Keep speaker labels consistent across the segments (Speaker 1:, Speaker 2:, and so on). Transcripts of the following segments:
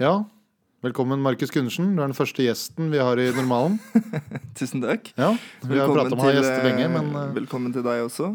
Speaker 1: Ja. Velkommen, Markus Gundersen. Du er den første gjesten vi har i normalen.
Speaker 2: Tusen takk.
Speaker 1: Ja, Vi har prata med å ha gjester
Speaker 2: eh,
Speaker 1: lenge, men eh,
Speaker 2: velkommen til deg også,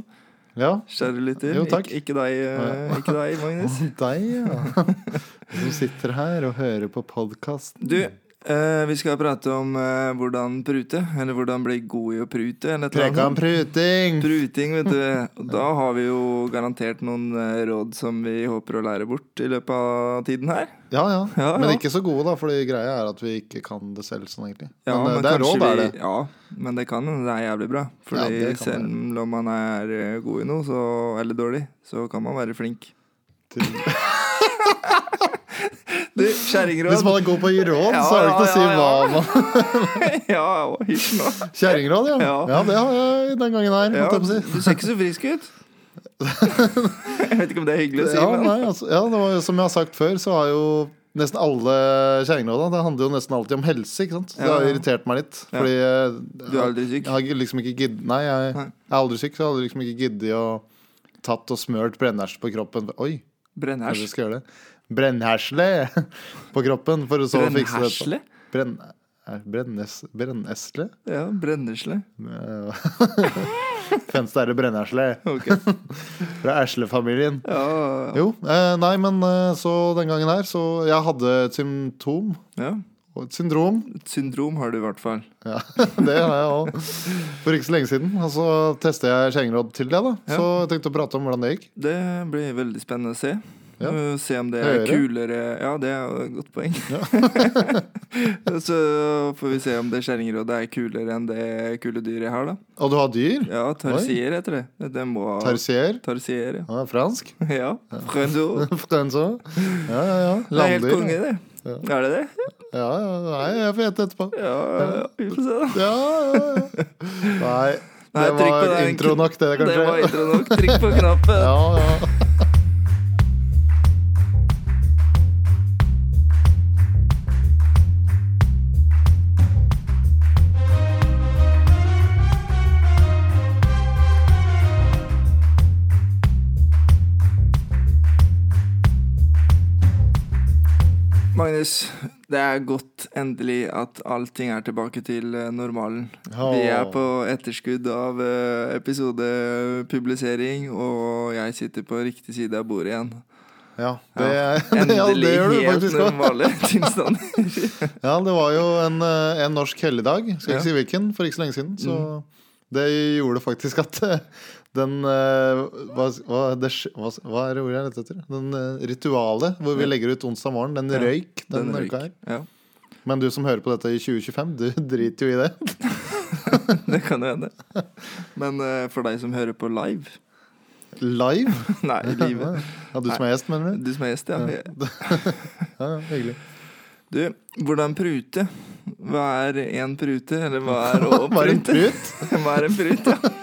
Speaker 1: ja.
Speaker 2: kjære lytter.
Speaker 1: Jo, takk.
Speaker 2: Ik ikke, deg, eh, ikke deg, Magnus.
Speaker 1: Å, Deg, ja. Du som sitter her og hører på podkasten.
Speaker 2: Du, eh, vi skal prate om eh, hvordan prute, eller hvordan bli god i å prute. Eller et
Speaker 1: Preka
Speaker 2: eller annet.
Speaker 1: om pruting!
Speaker 2: Pruting, vet du. Og da har vi jo garantert noen eh, råd som vi håper å lære bort i løpet av tiden her.
Speaker 1: Ja, ja.
Speaker 2: Ja, ja.
Speaker 1: Men ikke så gode, da, fordi greia er at vi ikke kan det selv sånn, egentlig.
Speaker 2: Ja,
Speaker 1: men, eh, det er
Speaker 2: kanskje
Speaker 1: råd, er det.
Speaker 2: vi- Ja, men det kan hende det er jævlig bra.
Speaker 1: Ja,
Speaker 2: Fordi
Speaker 1: det kan
Speaker 2: selv om man er eh, god i noe, så, eller dårlig, så kan man være flink. Du,
Speaker 1: Hvis
Speaker 2: kjerringråd!
Speaker 1: man er god på å gi råd,
Speaker 2: Ja,
Speaker 1: så er det ikke noe å si
Speaker 2: ja, ja,
Speaker 1: hva man
Speaker 2: ja, og hysj nå.
Speaker 1: Kjerringråd, ja.
Speaker 2: Ja.
Speaker 1: Ja, det har jeg den gangen her,
Speaker 2: Ja,
Speaker 1: holdt jeg på å si.
Speaker 2: du ser ikke så frisk ut. Jeg vet ikke om det er hyggelig å si,
Speaker 1: Ja,
Speaker 2: men
Speaker 1: nei, altså, ja, det var jo som jeg har sagt før, så har jo nesten alle kjerringråda Det handler jo nesten alltid om helse, ikke sant. Så Det
Speaker 2: Ja,
Speaker 1: har
Speaker 2: ja.
Speaker 1: irritert meg litt.
Speaker 2: Ja.
Speaker 1: Fordi eh,
Speaker 2: du er aldri syk.
Speaker 1: jeg har liksom ikke gidd Nei, jeg,
Speaker 2: Nei.
Speaker 1: jeg er aldri syk, så jeg hadde liksom ikke giddet å tatt og smørt brennesj på kroppen. Oi, kanskje
Speaker 2: Brennhers.
Speaker 1: jeg skal gjøre det. Brennhersle på kroppen, for så å fikse det.
Speaker 2: Brennhersle?
Speaker 1: Brenn... er- Brennes... Brennesle?
Speaker 2: Ja, brennesle.
Speaker 1: Fenstære brennesle
Speaker 2: Ok.
Speaker 1: fra Esle-familien.
Speaker 2: Ja,
Speaker 1: Jo, eh, nei, men eh, så den gangen her, så jeg hadde et symptom.
Speaker 2: ja.
Speaker 1: og Et syndrom.
Speaker 2: Et syndrom har du i hvert fall.
Speaker 1: Ja, det har jeg òg. For ikke så lenge siden. Og så testa jeg skjengeråd til det, da. Så jeg tenkte å prate om hvordan det gikk.
Speaker 2: Det blir veldig spennende å se.
Speaker 1: Ja.
Speaker 2: Uh, Se om det er
Speaker 1: Høre.
Speaker 2: kulere Ja, det er jo et godt poeng. Så får vi se om det kjerringrådet er kulere enn det kule dyret jeg har, da.
Speaker 1: Og du har dyr?
Speaker 2: Ja, tarsier heter det. Det må
Speaker 1: Tertier?
Speaker 2: Tarsier, ja.
Speaker 1: Ja, fransk?
Speaker 2: ja. Frendo.
Speaker 1: Fransk også. Ja, ja, ja.
Speaker 2: Det er helt
Speaker 1: Landdyr.
Speaker 2: konge, det. Er det det?
Speaker 1: Ja, ja. Nei, jeg får gjette etterpå.
Speaker 2: Ja, ja, vi får se, da.
Speaker 1: Ja, ja, ja. Nei, det
Speaker 2: Nei, trykk på
Speaker 1: var
Speaker 2: den
Speaker 1: intro
Speaker 2: kn-
Speaker 1: nok, det,
Speaker 2: Det var
Speaker 1: kanskje.
Speaker 2: intro nok. Trykk på knappen.
Speaker 1: Ja, ja.
Speaker 2: Magnus, det er godt endelig at allting er tilbake til eh, normalen.
Speaker 1: Ja.
Speaker 2: Vi er på etterskudd av eh, episodepublisering, og jeg sitter på riktig side av bordet igjen.
Speaker 1: ja, det, ja,
Speaker 2: Endelig
Speaker 1: det gjør du
Speaker 2: helt
Speaker 1: faktisk. også.
Speaker 2: normale tilstander.
Speaker 1: Ja, det var jo en, eh, en norsk helligdag, skal
Speaker 2: Ja. Mm.
Speaker 1: ikke si hvilken, for ikke så lenge siden. Så det gjorde faktisk at eh, den eh, hva, hva, det, sk- hva, hva er det ordet jeg leter etter? Den eh, ritualet hvor vi legger ut onsdag morgen, den
Speaker 2: Ja,
Speaker 1: røyk den,
Speaker 2: røyk.
Speaker 1: uka her.
Speaker 2: Ja,
Speaker 1: Men du som hører på dette i 2025, du driter jo i det.
Speaker 2: det kan jo hende. Men eh, for deg som hører på live
Speaker 1: Live.
Speaker 2: Nei, i livet.
Speaker 1: Ja, du som er gjest, mener du?
Speaker 2: Du som er gjest, ja.
Speaker 1: Ja, ja, hyggelig.
Speaker 2: Du, hvordan prute? Hva er en prute? Eller hva er å
Speaker 1: Var det en
Speaker 2: prute?
Speaker 1: prut?
Speaker 2: Hva er en prute? Ja.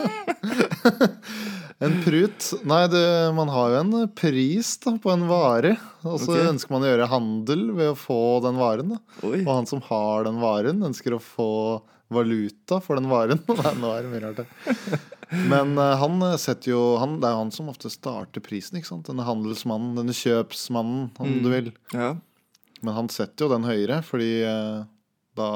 Speaker 1: En prut? Nei, det, man har jo en pris da, på en vare. Og så
Speaker 2: Ok.
Speaker 1: ønsker man å gjøre handel ved å få den varen. da
Speaker 2: Oi.
Speaker 1: Og han som har den varen, ønsker å få valuta for den varen. Nei, nå er det mye rart her. Men eh, han setter jo han, Det er jo han som ofte starter prisen, ikke sant? Denne handelsmannen, denne kjøpsmannen, om
Speaker 2: Mm.
Speaker 1: du vil.
Speaker 2: Ja.
Speaker 1: Men han setter jo den høyere, fordi eh, da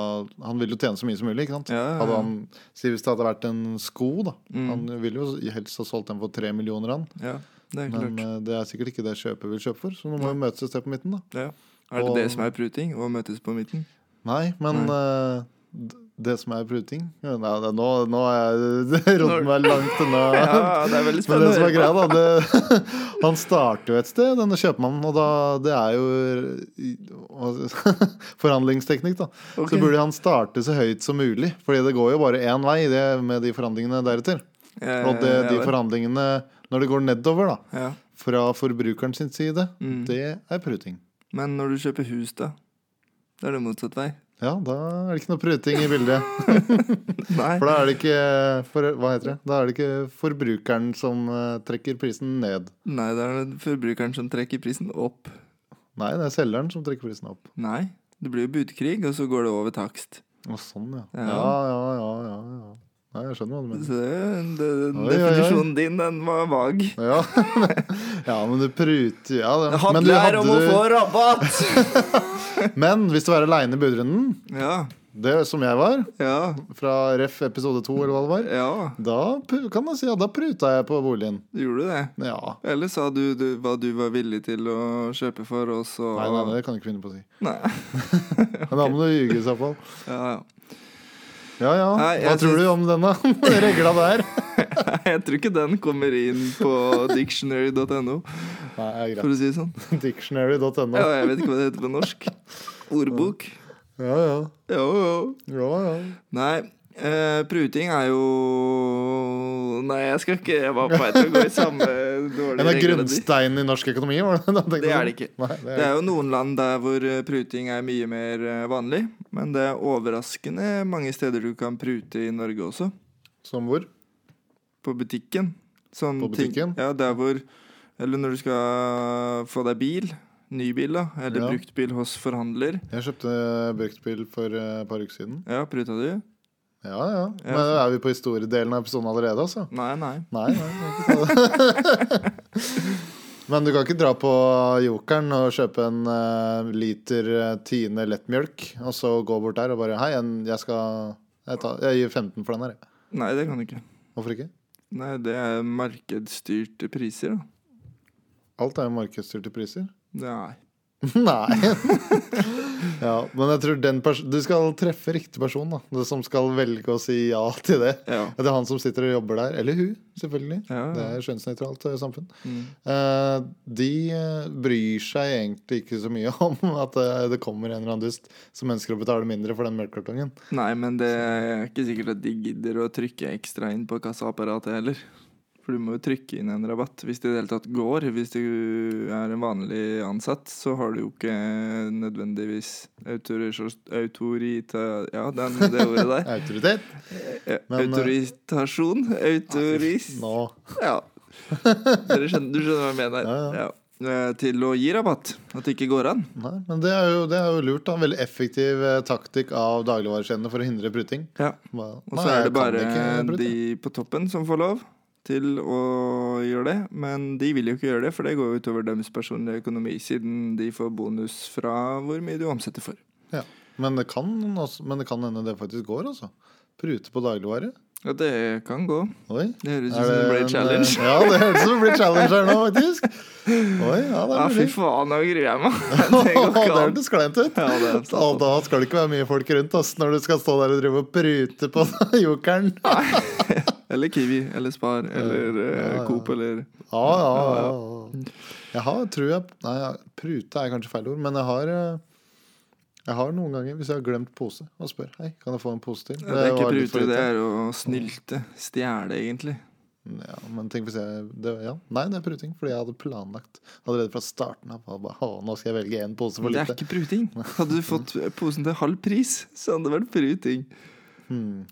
Speaker 1: Han vil jo tjene så mye som mulig, ikke sant?
Speaker 2: Ja, ja, ja.
Speaker 1: Hadde han, si hvis det hadde vært en sko, da.
Speaker 2: Mm.
Speaker 1: Han ville jo helst ha solgt den for tre millioner, han.
Speaker 2: Ja, det er
Speaker 1: Men
Speaker 2: klart.
Speaker 1: eh, det er sikkert ikke det kjøper vil kjøpe for, så nå må vi møtes et sted på midten, da.
Speaker 2: Ja. Er det
Speaker 1: eh, og-
Speaker 2: det som er pruting? Å møtes på midten?
Speaker 1: Nei, men eh, d- det som er pruting ja, nei, det- Nå, nå er jeg rodd meg langt unna.
Speaker 2: Ja, det er veldig
Speaker 1: Men det som
Speaker 2: spennende.
Speaker 1: er greia, da det, Han starter jo et sted, denne kjøpmannen, og da det er jo i- hva- forhandlingsteknikk, da.
Speaker 2: Ok.
Speaker 1: Så burde han starte så høyt som mulig, Fordi det går jo bare én vei det, med de forhandlingene deretter.
Speaker 2: Eh,
Speaker 1: Og det, de
Speaker 2: ja,
Speaker 1: forhandlingene når det går nedover, da,
Speaker 2: ja.
Speaker 1: fra forbrukeren sin side,
Speaker 2: Mm.
Speaker 1: det er pruting.
Speaker 2: Men når du kjøper hus, da? Da er det motsatt vei.
Speaker 1: Ja, da er det ikke noe pruting i bildet.
Speaker 2: Nei.
Speaker 1: For da er det ikke for, Hva heter det? Da er det ikke forbrukeren som eh, trekker prisen ned.
Speaker 2: Nei, da er det forbrukeren som trekker prisen opp.
Speaker 1: Nei, det er selgeren som trekker prisen opp.
Speaker 2: Nei. Det blir jo budkrig, og så går det over takst.
Speaker 1: Å, sånn, ja.
Speaker 2: Ja.
Speaker 1: Ja, ja, ja, ja, ja. Nei, jeg skjønner hva du mener.
Speaker 2: Så det- det-
Speaker 1: Oi, oi, oi.
Speaker 2: definisjonen din, den var vag.
Speaker 1: Ja, ja men du pruter ja, det-
Speaker 2: Hatt
Speaker 1: men, du
Speaker 2: lær om å få
Speaker 1: hadde,
Speaker 2: rabatt!
Speaker 1: du- men hvis du er aleine i budrunden,
Speaker 2: Ja,
Speaker 1: det som jeg var,
Speaker 2: ja,
Speaker 1: fra ref episode to eller hva det var,
Speaker 2: ja.
Speaker 1: da pu- kan jeg si at da pruta jeg på boligen.
Speaker 2: Gjorde du det?
Speaker 1: Ja.
Speaker 2: Eller sa du, du hva du var villig til å kjøpe for, og så
Speaker 1: Nei, nei, det kan jeg ikke finne på å si.
Speaker 2: Nei.
Speaker 1: Men da må du ljuge i så fall.
Speaker 2: Ja, ja.
Speaker 1: Ja ja,
Speaker 2: Nei,
Speaker 1: hva
Speaker 2: jeg
Speaker 1: tror
Speaker 2: syns-
Speaker 1: du om denne regla der?
Speaker 2: Jeg tror ikke den kommer inn på dictionary.no,
Speaker 1: Nei, det er greit.
Speaker 2: for å si det sånn.
Speaker 1: Dictionary.no.
Speaker 2: Ja, jeg vet ikke hva det heter på norsk. Ordbok.
Speaker 1: Ja ja.
Speaker 2: Jo, jo.
Speaker 1: Ja ja.
Speaker 2: Nei, eh, pruting er jo Nei, jeg skal ikke Jeg var på vei til å gå i samme
Speaker 1: En
Speaker 2: dårlige
Speaker 1: av grunnsteinene i norsk økonomi, var det det du tenkte
Speaker 2: Det
Speaker 1: på?
Speaker 2: er det ikke.
Speaker 1: Nei, det
Speaker 2: Det
Speaker 1: er...
Speaker 2: er jo noen land der hvor eh, pruting er mye mer eh, vanlig. Men det er overraskende mange steder du kan prute i Norge også.
Speaker 1: Som hvor?
Speaker 2: På butikken. Sånn
Speaker 1: På
Speaker 2: Ting,
Speaker 1: butikken?
Speaker 2: ja, der hvor Eller når du skal få deg bil. Ny bil, da. Eller
Speaker 1: Ja.
Speaker 2: brukt bil hos forhandler.
Speaker 1: Jeg kjøpte bruktbil for eh, et par uker siden.
Speaker 2: Ja, pruta du?
Speaker 1: Ja, ja. Men er vi på historiedelen av episoden allerede, altså?
Speaker 2: Nei, nei.
Speaker 1: Nei, nei. jeg kan ikke ta det. Men du kan ikke dra på Jokeren og kjøpe en eh, liter eh, Tine lettmjølk, og så gå bort der og bare Hei, en, jeg skal jeg, tar, jeg gir 15 for den her. jeg».
Speaker 2: Nei, det kan du ikke.
Speaker 1: Hvorfor ikke?
Speaker 2: Nei, det er markedsstyrte priser, da.
Speaker 1: Alt er jo markedsstyrte priser.
Speaker 2: Nei.
Speaker 1: Nei. ja, men jeg tror den pers du skal treffe riktig person, da. Du som skal velge å si ja til det.
Speaker 2: Ja.
Speaker 1: Det er han som sitter og jobber der. Eller hun, selvfølgelig.
Speaker 2: Ja, ja. Mm.
Speaker 1: Det er skjønnsnøytralt eh, samfunn. Eh, de eh, bryr seg egentlig ikke så mye om at eh, det kommer en eller annen dust som ønsker å betale mindre for den melkekartongen.
Speaker 2: Nei, men det er ikke sikkert at de gidder å trykke ekstra inn på kassaapparatet heller. For du må jo trykke inn en rabatt hvis det i det hele tatt går. Hvis du er en vanlig ansatt, så har du jo ikke nødvendigvis autoris- autorita... Ja, den, det ordet der.
Speaker 1: Autoritet?
Speaker 2: Eh,
Speaker 1: Men, eh,
Speaker 2: Autoritasjon? Autoris...
Speaker 1: Nå.
Speaker 2: Ja. Dere skjønner, du skjønner hva jeg mener.
Speaker 1: Ja,
Speaker 2: Ja. Eh, Til å gi rabatt. At det ikke går an.
Speaker 1: Nei, men det er, jo, det er jo lurt. da Veldig effektiv eh, taktikk av dagligvarekjedene for å hindre pruting.
Speaker 2: Ja.
Speaker 1: Bare,
Speaker 2: Og så
Speaker 1: «Nei,
Speaker 2: er det
Speaker 1: jeg kan
Speaker 2: bare
Speaker 1: ikke prute».
Speaker 2: de på toppen som får lov til å gjøre det. Men de vil jo ikke gjøre det, for det går jo utover deres personlige økonomi, siden de får bonus fra hvor mye du omsetter for.
Speaker 1: Ja. Men, det kan også, men det kan hende det faktisk går, altså. Prute på dagligvare.
Speaker 2: Ja, det kan gå.
Speaker 1: Oi.
Speaker 2: Det høres ut
Speaker 1: Er
Speaker 2: som det blir
Speaker 1: en,
Speaker 2: en challenge.
Speaker 1: eh, Ja, det høres ut som det blir challenge her nå, faktisk. Oi, ja, det
Speaker 2: Ja,
Speaker 1: er
Speaker 2: fy
Speaker 1: mulig.
Speaker 2: faen, nå gruer jeg meg. Det går
Speaker 1: Det
Speaker 2: ikke an.
Speaker 1: hørtes kleint ut.
Speaker 2: Ja, det er
Speaker 1: Så Da skal det ikke være mye folk rundt ass, når du skal stå der og drive og prute på jokeren. Ja,
Speaker 2: Eller Kiwi, eller Spar, eller eh,
Speaker 1: ja, ja.
Speaker 2: Coop, eller
Speaker 1: ja, ja. ja. Jeg har, tror jeg Nei, ja, prute er kanskje feil ord, men jeg har eh, jeg har noen ganger, hvis jeg har glemt pose, og spør Hei, kan jeg få en pose til.
Speaker 2: Det er ikke
Speaker 1: var litt for
Speaker 2: prute, det
Speaker 1: lite.
Speaker 2: er å snylte. Stjele, egentlig.
Speaker 1: Ja, men tenk hvis jeg det, ja. Nei, det er pruting, fordi jeg hadde planlagt allerede fra starten av. og Bare, å, nå skal jeg velge én pose for
Speaker 2: Det er
Speaker 1: lite.
Speaker 2: ikke pruting. Hadde du fått posen til halv pris, så hadde det vært pruting.
Speaker 1: Hmm.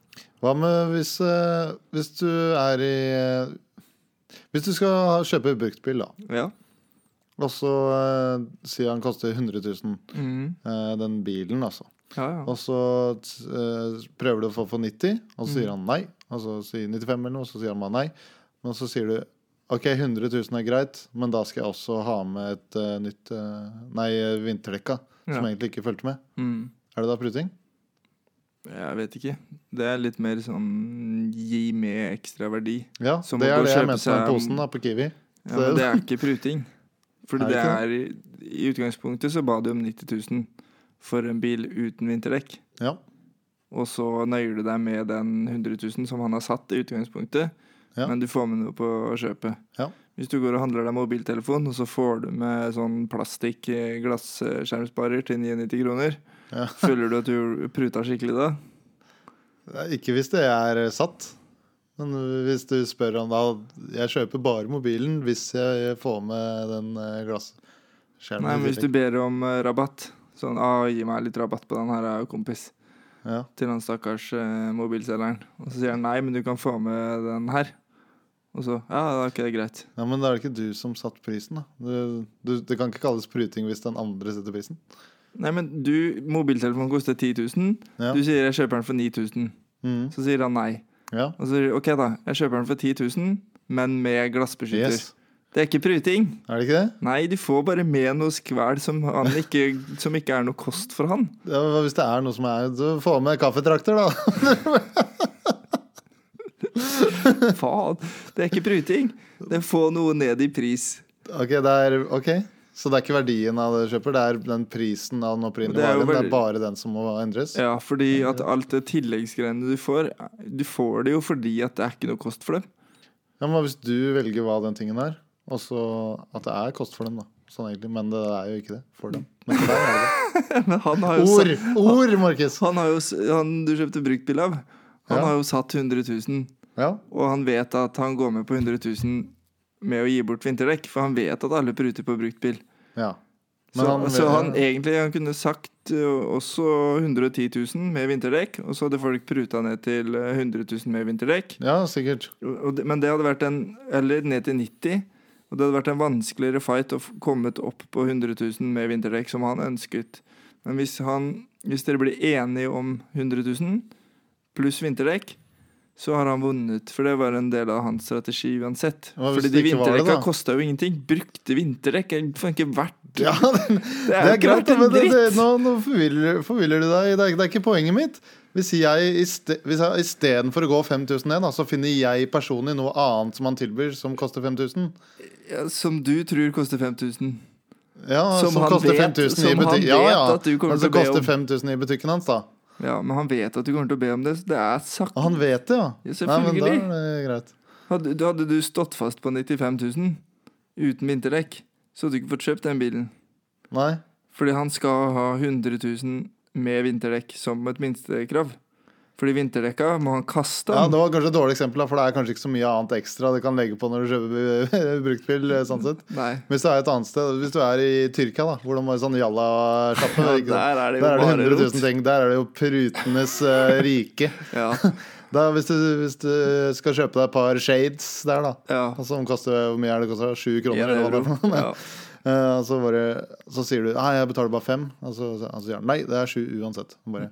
Speaker 1: Hva med hvis, eh, hvis du er i eh, Hvis du skal ha- kjøpe bruktbil, da,
Speaker 2: Ja.
Speaker 1: og så eh, sier han koster 100 000,
Speaker 2: Mhm.
Speaker 1: eh, den bilen, altså.
Speaker 2: ja, ja.
Speaker 1: Og så eh, prøver du å få for 90, og så sier han
Speaker 2: Mm.
Speaker 1: nei. Og så sier 95 eller noe, og så sier han bare nei. Men så sier du OK, 100 000 er greit, men da skal jeg også ha med et eh, nytt eh, Nei, vinterdekka,
Speaker 2: Ja.
Speaker 1: som egentlig ikke fulgte med.
Speaker 2: Mm.
Speaker 1: Er det da pruting?
Speaker 2: Jeg vet ikke. Det er litt mer sånn gi med ekstra verdi.
Speaker 1: Ja,
Speaker 2: Så
Speaker 1: det
Speaker 2: må
Speaker 1: er
Speaker 2: du
Speaker 1: det jeg mente
Speaker 2: kjøpe
Speaker 1: med
Speaker 2: seg-
Speaker 1: den posen da, på Kiwi.
Speaker 2: Ja, men det er ikke pruting. Fordi
Speaker 1: Er
Speaker 2: det
Speaker 1: det ikke
Speaker 2: er i, I utgangspunktet så ba du om 90 000 for en bil uten vinterdekk.
Speaker 1: Ja.
Speaker 2: Og så nøyer du deg med den 100 000 som han har satt i utgangspunktet,
Speaker 1: Ja.
Speaker 2: men du får med noe på kjøpet.
Speaker 1: Ja.
Speaker 2: Hvis du går og handler deg mobiltelefon, og så får du med sånn plastikk eh, glasskjermsparer til 99 kroner,
Speaker 1: Ja.
Speaker 2: føler du at du pruta skikkelig da?
Speaker 1: Nei, Ikke hvis det er eh, satt. Men hvis du spør om da Jeg kjøper bare mobilen hvis jeg får med den eh, glasskjermen.
Speaker 2: Nei, men
Speaker 1: i
Speaker 2: hvis du
Speaker 1: tillegg.
Speaker 2: ber om eh, rabatt Sånn, ah, gi meg litt rabatt på den her, jeg er jo kompis
Speaker 1: ja.
Speaker 2: Til han stakkars eh, mobilselgeren Og så sier han, nei, men du kan få med den her Og så, ja, da er ikke det greit
Speaker 1: ja, Men da er det ikke du som satt prisen, da. Du, du, det kan ikke kalles pruting hvis den andre setter prisen.
Speaker 2: Nei, men du, mobiltelefonen koster 10 000
Speaker 1: Ja.
Speaker 2: Du sier, jeg kjøper den for 9 000
Speaker 1: Mhm.
Speaker 2: Så sier han nei
Speaker 1: Ja.
Speaker 2: Og så, ok da, jeg kjøper den for 10 000, men med glassbeskytter.
Speaker 1: Yes.
Speaker 2: Det er ikke pruting.
Speaker 1: Er det ikke det?
Speaker 2: Nei, du får bare med noe skvæl som, han ikke, som ikke er noe kost for han.
Speaker 1: Ja, men hvis det er noe som er Så få med kaffetrakter, da.
Speaker 2: Faen, det er ikke pruting. Det er få noe ned i pris.
Speaker 1: Ok, det er, ok Så det er ikke verdien av det du kjøper, det er den prisen av den
Speaker 2: Det
Speaker 1: opprinnelige
Speaker 2: er jo
Speaker 1: varen. Det
Speaker 2: veldig-
Speaker 1: er bare den som må endres.
Speaker 2: Ja, fordi at alt det tilleggsgreiene du får, du får det jo fordi at det er ikke noe kost for dem.
Speaker 1: Ja, men Hvis du velger hva den tingen er, og så at det er kost for dem, da. Sånn egentlig, Men det er jo ikke det for dem. Men for deg er det det.
Speaker 2: Men han har jo
Speaker 1: Ord! Ord, Markus!
Speaker 2: Han, har jo, s- han du kjøpte bruktbil av, han
Speaker 1: Ja.
Speaker 2: har jo satt 100 000,
Speaker 1: Ja.
Speaker 2: og han vet at han går med på 100 000 med å gi bort vinterdekk, for han vet at alle pruter på bruktbil.
Speaker 1: ja.
Speaker 2: Så,
Speaker 1: Men han-
Speaker 2: så han egentlig han kunne sagt ø, også 110 000 med vinterdekk, og så hadde folk pruta ned til ø, 100 000 med vinterdekk.
Speaker 1: Ja, sikkert.
Speaker 2: Og- og det- Men det hadde vært en Eller ned til 90 Og det hadde vært en vanskeligere fight Å f- kommet opp på 100 000 med vinterdekk Som han ønsket Men hvis, han, hvis dere blir enige om 100 000 Pluss vinterdekk Så har han vunnet For det var en del av hans strategi uansett
Speaker 1: Hva hvis
Speaker 2: Fordi de
Speaker 1: det ikke var det,
Speaker 2: vinterdekka
Speaker 1: da?
Speaker 2: kostet jo ingenting Brukte vinterdekk er faen ikke verdt
Speaker 1: Ja, det, det er
Speaker 2: ikke
Speaker 1: greit,
Speaker 2: verdt en
Speaker 1: men det, det,
Speaker 2: dritt.
Speaker 1: nå, nå forviller, forviller du deg. Det er, det er ikke poenget mitt. Hvis jeg istedenfor å gå 5000 ned, da, så finner jeg personlig noe annet som han tilbyr, som koster 5000.
Speaker 2: Ja, Som du tror koster 5000
Speaker 1: Ja,
Speaker 2: Som
Speaker 1: som,
Speaker 2: han
Speaker 1: koster
Speaker 2: vet-
Speaker 1: 5000 i
Speaker 2: som han
Speaker 1: butikken. Ja,
Speaker 2: vet
Speaker 1: ja.
Speaker 2: at du kommer
Speaker 1: Men
Speaker 2: til
Speaker 1: så
Speaker 2: å be
Speaker 1: koster
Speaker 2: om.
Speaker 1: 5000 i butikken hans, da.
Speaker 2: Ja, men han vet at du kommer til å be om det Så det er sagt
Speaker 1: Og han vet det, ja.
Speaker 2: Ja,
Speaker 1: Ah. men da
Speaker 2: selvfølgelig.
Speaker 1: er det greit.
Speaker 2: Hadde, da hadde du stått fast på 95 000 uten vinterdekk, så hadde du ikke fått kjøpt den bilen.
Speaker 1: Nei.
Speaker 2: Fordi han skal ha 100 000 med vinterdekk som et minstekrav. Fordi vinterdekka må han kaste.
Speaker 1: Ja,
Speaker 2: den.
Speaker 1: det var kanskje et dårlig eksempel, da, for det er kanskje ikke så mye annet ekstra du kan legge på når du kjøper bruktbil. sånn sett.
Speaker 2: Nei.
Speaker 1: Hvis du er et annet sted, hvis du er i Tyrkia, da, hvor de har sånn jalla-sjappe
Speaker 2: Ja,
Speaker 1: ikke sant?
Speaker 2: der er det jo
Speaker 1: Der er det
Speaker 2: bare
Speaker 1: 100
Speaker 2: rot.
Speaker 1: 000 ting. Der er det jo prutenes eh, rike.
Speaker 2: Ja,
Speaker 1: Da, hvis, du, hvis du skal kjøpe deg et par shades der, da, altså,
Speaker 2: ja.
Speaker 1: som koster hvor mye er det koster? Sju kroner? eller
Speaker 2: En
Speaker 1: hva det
Speaker 2: euro.
Speaker 1: er for noe?
Speaker 2: Ja.
Speaker 1: Eh, og så, bare, så sier du Nei, jeg betaler bare fem. Og så så- han sier han, nei, det er sju uansett. Og Bare,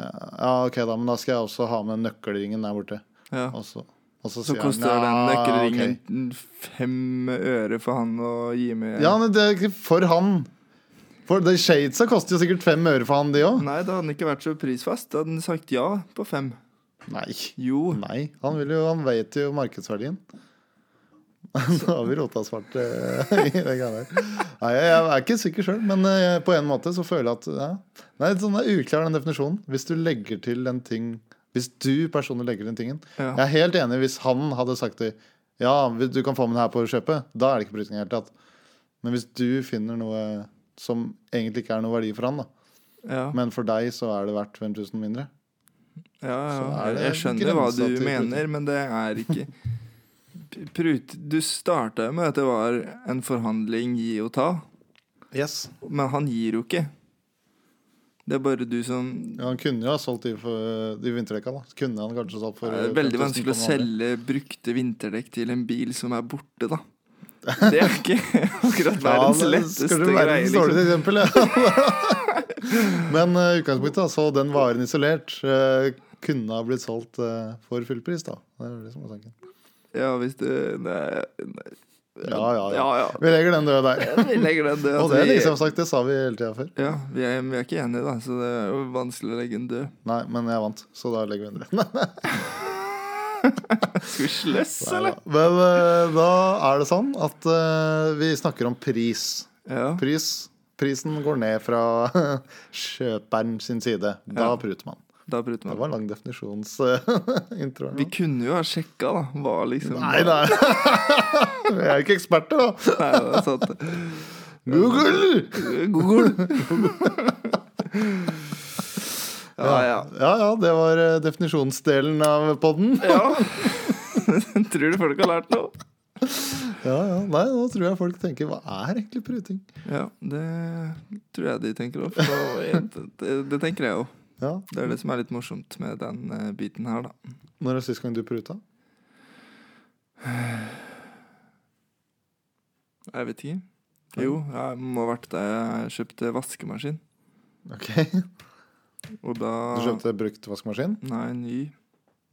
Speaker 1: ja, ok da, men da skal jeg også ha med nøkkelringen der borte.
Speaker 2: Ja.
Speaker 1: Og så, og så,
Speaker 2: Så
Speaker 1: sier
Speaker 2: koster
Speaker 1: han,
Speaker 2: den
Speaker 1: «Nja,
Speaker 2: nøkkelringen
Speaker 1: ok.»
Speaker 2: fem øre for han å gi med.
Speaker 1: Ja, men det er ikke for han. For de shadesa koster jo sikkert fem øre for han, de òg.
Speaker 2: Nei, da hadde han ikke vært så prisfast. Da hadde han sagt ja på fem. Mm.
Speaker 1: Nei.
Speaker 2: Jo.
Speaker 1: nei. Han, vil jo, han vet jo markedsverdien. Nå har vi rota svart eh, i det greia der. Nei, jeg jeg er ikke sikker sjøl, men eh, på en måte så føler jeg at ja. Nei, sånn er uklar den definisjonen. Hvis du legger til en ting Hvis du personlig legger til den tingen
Speaker 2: Ja.
Speaker 1: Jeg er helt enig hvis han hadde sagt det. Ja, du kan få med den her på kjøpet. Da er det ikke bryting i det hele tatt. Men hvis du finner noe som egentlig ikke er noe verdi for han, da,
Speaker 2: Ja.
Speaker 1: men for deg så er det verdt 5000 mindre
Speaker 2: Ja,
Speaker 1: Så
Speaker 2: ja.
Speaker 1: er det
Speaker 2: jeg skjønner hva du
Speaker 1: grensa til
Speaker 2: mener, men det er ikke Prut, Du starta med at det var en forhandling gi og ta,
Speaker 1: Yes
Speaker 2: men han gir jo ikke. Det er bare du som
Speaker 1: Ja, han kunne jo ha solgt de, for, de vinterdekka, da. Kunne han kanskje solgt for
Speaker 2: Det er
Speaker 1: 5000
Speaker 2: veldig vanskelig å
Speaker 1: på en måned.
Speaker 2: selge brukte vinterdekk til en bil som er borte, da. Det er ikke akkurat
Speaker 1: Ja,
Speaker 2: verdens
Speaker 1: det-
Speaker 2: letteste
Speaker 1: skulle være
Speaker 2: greie.
Speaker 1: verdens
Speaker 2: Liksom.
Speaker 1: dårligste eksempel, ja. Men eh, utgangspunktet, da, så den varen isolert eh, kunne ha blitt solgt eh, for fullpris, da. Det er det som er tanken.
Speaker 2: Ja, hvis du Nei. nei.
Speaker 1: Ja, ja, ja.
Speaker 2: Ja, ja.
Speaker 1: Vi legger den død der.
Speaker 2: Vi legger den død.
Speaker 1: Og
Speaker 2: at
Speaker 1: det
Speaker 2: vi-
Speaker 1: liksom sagt, det sa vi hele tida før.
Speaker 2: Ja, vi er, vi er ikke enige, da, så det er jo vanskelig å legge den død.
Speaker 1: Nei, men jeg vant, så da legger vi den død.
Speaker 2: Skal vi sløss,
Speaker 1: Nei
Speaker 2: eller?
Speaker 1: da. Men eh, da er det sånn at eh, vi snakker om pris.
Speaker 2: Ja.
Speaker 1: Pris, prisen går ned fra kjøperen sin side. Da
Speaker 2: Ja.
Speaker 1: pruter man.
Speaker 2: Da bryter
Speaker 1: Det
Speaker 2: man.
Speaker 1: var en lang definisjonsintro.
Speaker 2: Vi kunne jo ha sjekka, da. Hva liksom
Speaker 1: nei, nei. Vi er jo ikke eksperter, da.
Speaker 2: Nei, det er sant.
Speaker 1: Google!
Speaker 2: Google! ja, ja.
Speaker 1: Ja ja, det var eh, definisjonsdelen av podden.
Speaker 2: ja. Tror du folk har lært noe?
Speaker 1: Ja, ja. Nei, nå tror jeg folk tenker hva er egentlig pruting?
Speaker 2: Ja, det tror jeg de tenker òg. Det, det tenker jeg òg.
Speaker 1: Ja,
Speaker 2: Det er det som er litt morsomt med den eh, biten her, da.
Speaker 1: Når er sist gang du pruta?
Speaker 2: Jeg vet ikke. Jo, jeg må ha vært da jeg kjøpte vaskemaskin.
Speaker 1: Ok, Du
Speaker 2: Og da
Speaker 1: kjøpte brukt vaskemaskin?
Speaker 2: Nei, ny.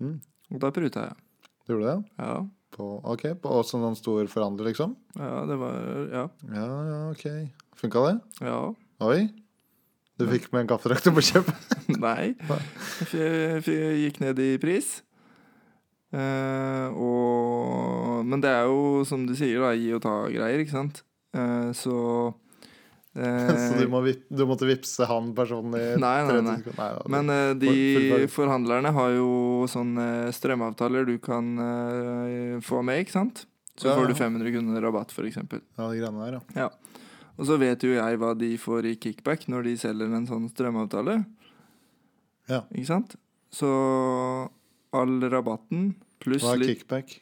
Speaker 1: Mm.
Speaker 2: Og da pruta jeg.
Speaker 1: Du gjorde det?
Speaker 2: Ja.
Speaker 1: På, ok, på oss som en stor forhandler, liksom?
Speaker 2: ja, det var Ja.
Speaker 1: Ja, ja, ok. Funka det?
Speaker 2: ja.
Speaker 1: Oi. Du fikk med en kaffedrakter på kjøpet?
Speaker 2: Nei.
Speaker 1: Nei.
Speaker 2: Jeg gikk ned i pris. Eh, og Men det er jo, som du sier, da, gi og ta-greier, ikke sant? Eh, så eh,
Speaker 1: Så du, må, vip- du måtte vippse han personen i
Speaker 2: Nei, nei,
Speaker 1: 30
Speaker 2: nei.
Speaker 1: sekunder? Nei, ja, det-
Speaker 2: Men eh,
Speaker 1: Full- full
Speaker 2: de
Speaker 1: fag.
Speaker 2: forhandlerne har jo sånne strømavtaler du kan eh, få med, ikke sant? Så
Speaker 1: Ja,
Speaker 2: får
Speaker 1: ja.
Speaker 2: du 500 kroner rabatt, f.eks.
Speaker 1: ja, de greiene der, ja.
Speaker 2: Og så vet jo jeg hva de får i kickback når de selger en sånn strømavtale.
Speaker 1: Ja.
Speaker 2: Ikke sant? Så all rabatten pluss
Speaker 1: Hva er
Speaker 2: litt
Speaker 1: kickback?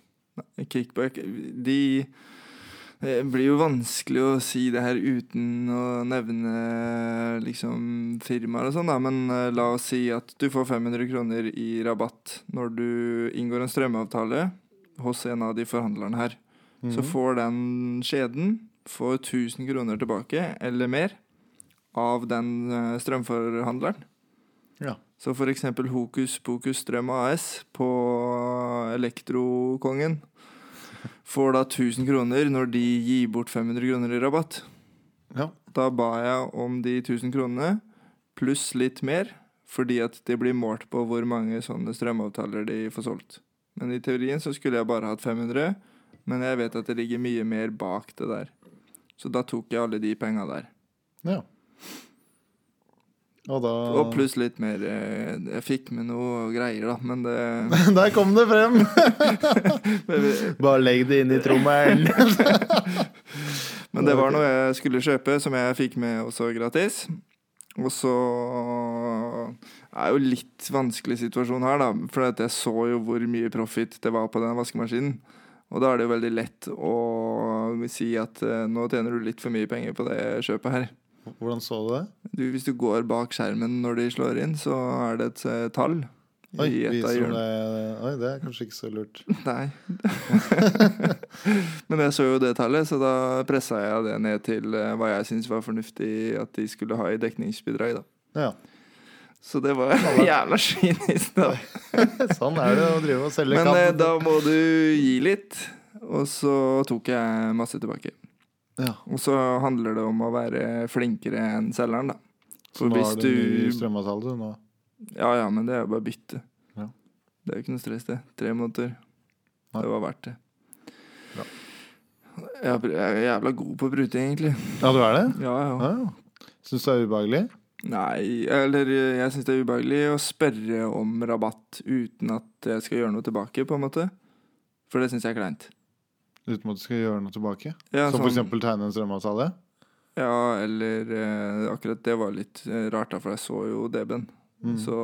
Speaker 2: kickback De Det blir jo vanskelig å si det her uten å nevne liksom firmaer og sånn, da, men eh, la oss si at du får 500 kroner i rabatt når du inngår en strømavtale hos en av de forhandlerne her. Så
Speaker 1: Mhm.
Speaker 2: får den skjeden får 1000 kroner tilbake eller mer av den eh, strømforhandleren.
Speaker 1: Ja.
Speaker 2: Så for eksempel Hokus Pokus Strøm AS på Elektrokongen får da 1000 kroner når de gir bort 500 kroner i rabatt.
Speaker 1: Ja.
Speaker 2: Da ba jeg om de 1000 kronene pluss litt mer, fordi at det blir målt på hvor mange sånne strømavtaler de får solgt. Men i teorien så skulle jeg bare hatt 500, men jeg vet at det ligger mye mer bak det der. Så da tok jeg alle de penga der.
Speaker 1: ja. Og da
Speaker 2: Og pluss litt mer eh, Jeg fikk med noe greier, da, men det
Speaker 1: Der kom det frem!
Speaker 2: men vi-
Speaker 1: Bare legg det inn i trommelen.
Speaker 2: Men det var noe jeg skulle kjøpe, som jeg fikk med også gratis. Og så er jo litt vanskelig situasjon her, da. For at jeg så jo hvor mye profit det var på den vaskemaskinen. Og da er det jo veldig lett å si at eh, nå tjener du litt for mye penger på det kjøpet her.
Speaker 1: Hvordan så du det?
Speaker 2: Du, hvis du går bak skjermen når de slår inn, så er det et eh, tall.
Speaker 1: Oi,
Speaker 2: i et av
Speaker 1: viser
Speaker 2: hjørnene.
Speaker 1: det. Oi, det er kanskje ikke så lurt.
Speaker 2: Nei. Men jeg så jo det tallet, så da pressa jeg det ned til eh, hva jeg syntes var fornuftig at de skulle ha i dekningsbidrag, da.
Speaker 1: Ja.
Speaker 2: Så det var jævla kynisk, da.
Speaker 1: Sånn er det å drive og selge
Speaker 2: Men eh,
Speaker 1: kamp.
Speaker 2: da må du gi litt. Og så tok jeg masse tilbake.
Speaker 1: Ja.
Speaker 2: Og så handler det om å være flinkere enn selgeren, da.
Speaker 1: Så
Speaker 2: For
Speaker 1: nå
Speaker 2: hvis
Speaker 1: har du ny
Speaker 2: du
Speaker 1: strømavtale, du nå.
Speaker 2: Ja ja, men det er jo bare bytte.
Speaker 1: Ja.
Speaker 2: Det er jo ikke noe stress, det. Tre måneder.
Speaker 1: Nei.
Speaker 2: Det var verdt det.
Speaker 1: Bra.
Speaker 2: Jeg er- Jeg er jævla god på å prute, egentlig.
Speaker 1: Ja, du er det?
Speaker 2: Ja, ja.
Speaker 1: Ja, ja. Syns du det er ubehagelig?
Speaker 2: Nei, eller eh, jeg syns det er ubehagelig å spørre om rabatt uten at jeg skal gjøre noe tilbake, på en måte. For det syns jeg er kleint.
Speaker 1: Uten at du skal gjøre noe tilbake?
Speaker 2: Ja,
Speaker 1: Som
Speaker 2: sånn-
Speaker 1: for eksempel tegne en strømavtale?
Speaker 2: Ja, eller eh, akkurat det var litt eh, rart, da, for jeg så jo DB-en.
Speaker 1: Mm.
Speaker 2: Så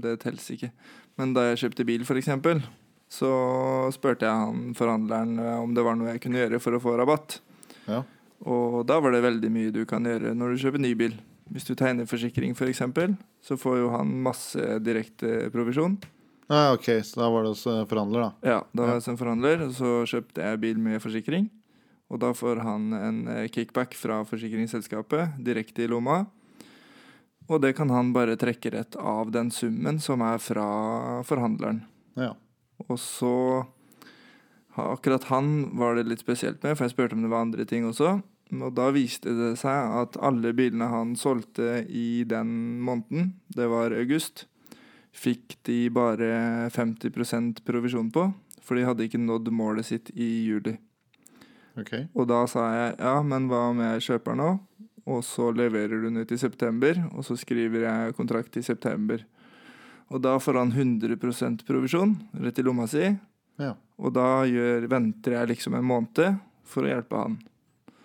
Speaker 2: det telles ikke. Men da jeg kjøpte bil, for eksempel, så spurte jeg han forhandleren eh, om det var noe jeg kunne gjøre for å få rabatt.
Speaker 1: Ja.
Speaker 2: Og da var det veldig mye du kan gjøre når du kjøper ny bil. Hvis du tegner forsikring, for eksempel, så får jo han masse direkte provisjon.
Speaker 1: Ah, ok, så da var det hos eh, forhandler, da.
Speaker 2: Ja, da var
Speaker 1: Ja.
Speaker 2: jeg som forhandler, og så kjøpte jeg bil med forsikring. Og da får han en eh, kickback fra forsikringsselskapet direkte i lomma. Og det kan han bare trekke rett av den summen som er fra forhandleren.
Speaker 1: Ja.
Speaker 2: Og så ha- Akkurat han var det litt spesielt med, for jeg spurte om det var andre ting også. Og da viste det seg at alle bilene han solgte i den måneden, det var august, fikk de bare 50 provisjon på. For de hadde ikke nådd målet sitt i juli.
Speaker 1: Ok.
Speaker 2: Og da sa jeg ja, men hva om jeg kjøper nå, og så leverer du den ut i september, og så skriver jeg kontrakt i september. Og da får han 100 provisjon rett i lomma si,
Speaker 1: Ja.
Speaker 2: og da gjør, venter jeg liksom en måned for å hjelpe han.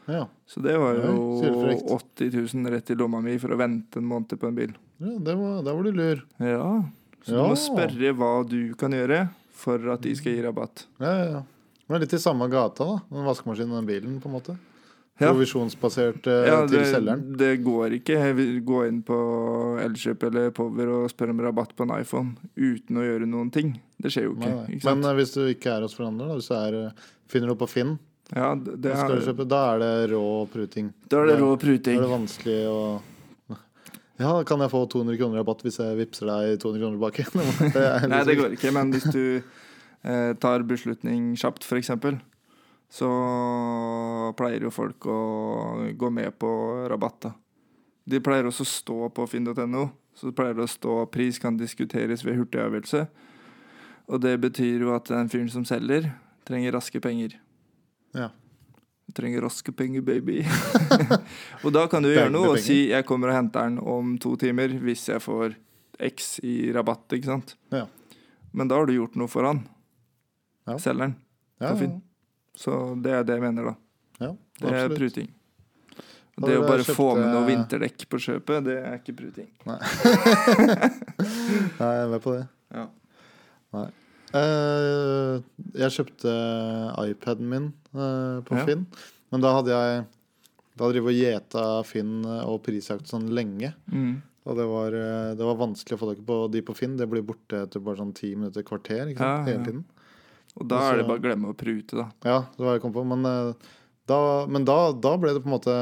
Speaker 1: Ja.
Speaker 2: Så det var jo
Speaker 1: Oi, sylfrekt.
Speaker 2: 80 000 rett i lomma mi for å vente en måned på en bil.
Speaker 1: ja det var, der var du lur.
Speaker 2: Ja, Så
Speaker 1: Ja.
Speaker 2: du må spørre hva du kan gjøre for at de skal gi rabatt.
Speaker 1: Ja, ja, ja. Men litt i samme gata, da. Den vaskemaskinen og den bilen, på en måte.
Speaker 2: Ja.
Speaker 1: Provisjonsbasert eh,
Speaker 2: Ja,
Speaker 1: til
Speaker 2: det,
Speaker 1: selgeren.
Speaker 2: det går ikke. Jeg vil gå inn på Elkjøp eller Power og spørre om rabatt på en iPhone uten å gjøre noen ting. Det skjer jo ikke.
Speaker 1: Nei, nei.
Speaker 2: ikke sant?
Speaker 1: Men eh, hvis du ikke er hos forhandler, da, hvis du er, eh, finner noe på Finn,
Speaker 2: ja, det, det
Speaker 1: så skal du
Speaker 2: er,
Speaker 1: kjøpe, da er det rå pruting.
Speaker 2: da er det rå
Speaker 1: Da
Speaker 2: pruting.
Speaker 1: er det vanskelig å Ja, kan jeg få 200 kroner rabatt hvis jeg vippser deg 200 kroner tilbake? Det er
Speaker 2: Nei, det
Speaker 1: liksom-
Speaker 2: går ikke. Men hvis du eh, tar beslutning kjapt, f.eks., så pleier jo folk å gå med på rabatt. da. De pleier også å stå på finn.no. Så pleier det å stå 'pris kan diskuteres ved hurtigavgjørelse'. Og det betyr jo at den fyren som selger, trenger raske penger.
Speaker 1: Ja.
Speaker 2: Du trenger raske penger, baby. og da kan du gjøre noe og si 'jeg kommer og henter den om to timer' hvis jeg får X i rabatt, ikke sant?
Speaker 1: Ja.
Speaker 2: Men da har du gjort noe for han.
Speaker 1: Ja.
Speaker 2: Selgeren.
Speaker 1: Ja,
Speaker 2: på Finn. Så det er det jeg mener, da.
Speaker 1: ja,
Speaker 2: Det er
Speaker 1: absolutt.
Speaker 2: pruting.
Speaker 1: Da
Speaker 2: Det å
Speaker 1: vil
Speaker 2: bare
Speaker 1: jeg eh,
Speaker 2: få
Speaker 1: kjøpte-
Speaker 2: med noe vinterdekk på kjøpet, det er ikke pruting.
Speaker 1: Nei, jeg er med på det.
Speaker 2: Ja.
Speaker 1: Eh, jeg kjøpte iPaden min eh, på
Speaker 2: Ja.
Speaker 1: Finn. Men da hadde jeg Da drev jeg og gjeta Finn og prisjakt sånn lenge.
Speaker 2: Mm.
Speaker 1: Og det var, eh, det var vanskelig å få tak på de på Finn. Det blir borte etter bare sånn ti minutter, kvarter. Ikke sant?
Speaker 2: Ja, ja.
Speaker 1: Hele tiden.
Speaker 2: Og da er det bare å glemme å prute, da.
Speaker 1: Ja, det var det jeg kom på. Men, eh, da, men da, da ble det på en måte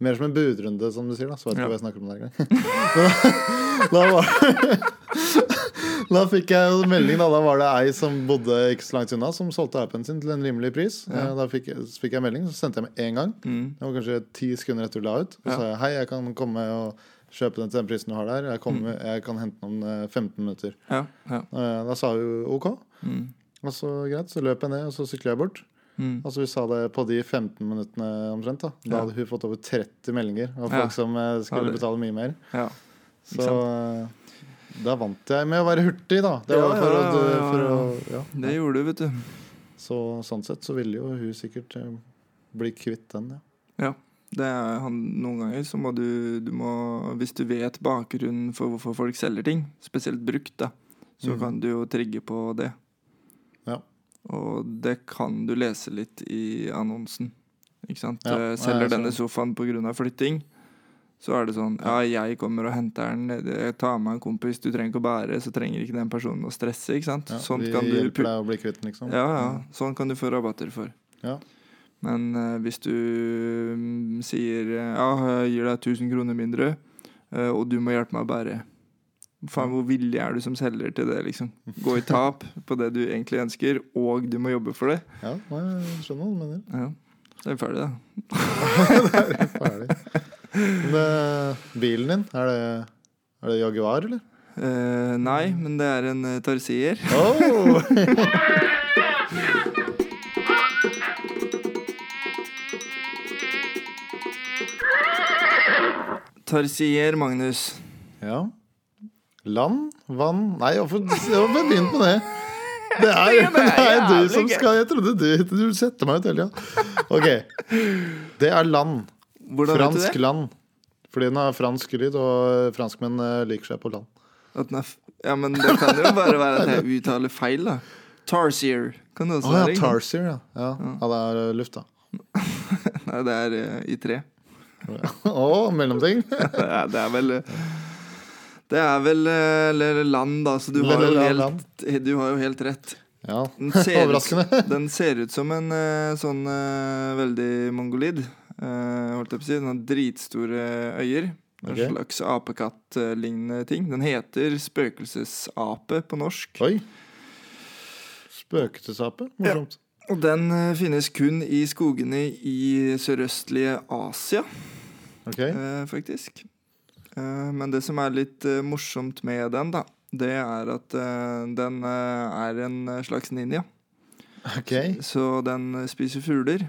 Speaker 1: mer som en budrunde, som du sier. da Så vet ikke
Speaker 2: Ja.
Speaker 1: hva jeg snakker om der engang. da, da, var, da fikk jeg jo melding, da. Da var det ei som bodde ikke så langt unna, som solgte appen sin til en rimelig pris.
Speaker 2: Ja.
Speaker 1: Eh, Da fikk, jeg- så fikk jeg melding, så sendte jeg med en gang.
Speaker 2: Mm.
Speaker 1: Det var kanskje ti sekunder etter du la ut. Og
Speaker 2: Ja.
Speaker 1: sa jeg, hei, jeg kan komme og kjøpe den til den prisen du har der. Jeg, kommer,
Speaker 2: Mm.
Speaker 1: jeg kan hente den om eh, 15 minutter.
Speaker 2: Ja. ja.
Speaker 1: Eh, Da sa hun jo ok.
Speaker 2: Mm.
Speaker 1: Og så greit, så løp jeg ned, og så sykla jeg bort.
Speaker 2: Mm.
Speaker 1: Altså Vi sa det på de 15 minuttene omtrent. Da Da
Speaker 2: Ja.
Speaker 1: hadde hun fått over 30 meldinger av
Speaker 2: Ja.
Speaker 1: folk som eh, skulle
Speaker 2: Ja, det-
Speaker 1: betale mye mer.
Speaker 2: ja. Ikke
Speaker 1: Så eh, da vant jeg med å være hurtig, da. Det
Speaker 2: Ja,
Speaker 1: var for,
Speaker 2: ja,
Speaker 1: å,
Speaker 2: ja, ja,
Speaker 1: for å
Speaker 2: Det
Speaker 1: ja.
Speaker 2: gjorde du, vet du.
Speaker 1: Så sånn sett så ville jo hun sikkert eh, bli kvitt den, ja.
Speaker 2: Det er han, noen ganger så må du, du må, Hvis du vet bakgrunnen for hvorfor folk selger ting, spesielt brukt, da, så
Speaker 1: Mhm.
Speaker 2: kan du jo trigge på det.
Speaker 1: Ja.
Speaker 2: Og det kan du lese litt i annonsen. Ikke sant?
Speaker 1: Ja,
Speaker 2: Eh,
Speaker 1: jeg
Speaker 2: Selger
Speaker 1: ser
Speaker 2: denne
Speaker 1: det. sånn.
Speaker 2: sofaen pga. flytting, så er det sånn Ja, jeg kommer og henter den. nede, Jeg tar med en kompis. Du trenger ikke å bære, så trenger ikke den personen å stresse. Ikke sant?
Speaker 1: ja.
Speaker 2: Sånt
Speaker 1: vi
Speaker 2: Sånn kan du
Speaker 1: hjelper
Speaker 2: pu-
Speaker 1: deg å bli kvitt den, liksom.
Speaker 2: ja, ja. Sånn kan du få rabatter for.
Speaker 1: Ja.
Speaker 2: Men eh, hvis du mm, sier eh, ja, jeg gir deg 1000 kroner mindre, eh, og du må hjelpe meg å bære Faen, hvor villig er du som selger til det, liksom? Gå i tap på det du egentlig ønsker, og du må jobbe for det.
Speaker 1: Ja, nei, jeg skjønner hva du mener.
Speaker 2: Ja. Så er vi ferdig, da.
Speaker 1: Det er Ferdig. Men, eh, bilen din, er det, er det Jaguar, eller?
Speaker 2: Eh, nei, men det er en eh, tarsier.
Speaker 1: Oh!
Speaker 2: Tarsier, Magnus.
Speaker 1: ja. Land, vann Nei, hvorfor hvorfor begynte med det? Det er, det er du som skal Jeg trodde du, du setter meg ut hele tida. Ok. Det er land.
Speaker 2: Hvordan vet
Speaker 1: Fransk
Speaker 2: du det?
Speaker 1: land. Fordi den har fransk lyd, og franskmenn eh, liker seg på land.
Speaker 2: At den er f ja, men det kan jo bare være at jeg uttaler feil, da. Tarsier. Kan
Speaker 1: Å
Speaker 2: det også
Speaker 1: ja,
Speaker 2: være? ikke sant?
Speaker 1: Tarsier, ja. ja. Ja, det er eh, luft, da.
Speaker 2: Nei, det er eh, i tre.
Speaker 1: Å, mellomting.
Speaker 2: Det er, det er vel eh, Det er vel eh, eller land, da, så du har, jo
Speaker 1: Eller
Speaker 2: helt, du har jo helt rett.
Speaker 1: Ja.
Speaker 2: Den ser,
Speaker 1: Overraskende.
Speaker 2: Ut, den ser ut som en eh, sånn eh, veldig mongolid. eh, holdt jeg på å si. Den har dritstore øyer. En
Speaker 1: Ok.
Speaker 2: slags apekatt-lignende ting. Den heter spøkelsesape på norsk.
Speaker 1: Oi. Spøkelsesape? Morsomt.
Speaker 2: Og den eh, finnes kun i skogene i sørøstlige Asia.
Speaker 1: Ok.
Speaker 2: eh, faktisk. Eh, men det som er litt eh, morsomt med den, da, det er at eh, den eh, er en eh, slags ninja.
Speaker 1: ok
Speaker 2: Så den eh, spiser fugler.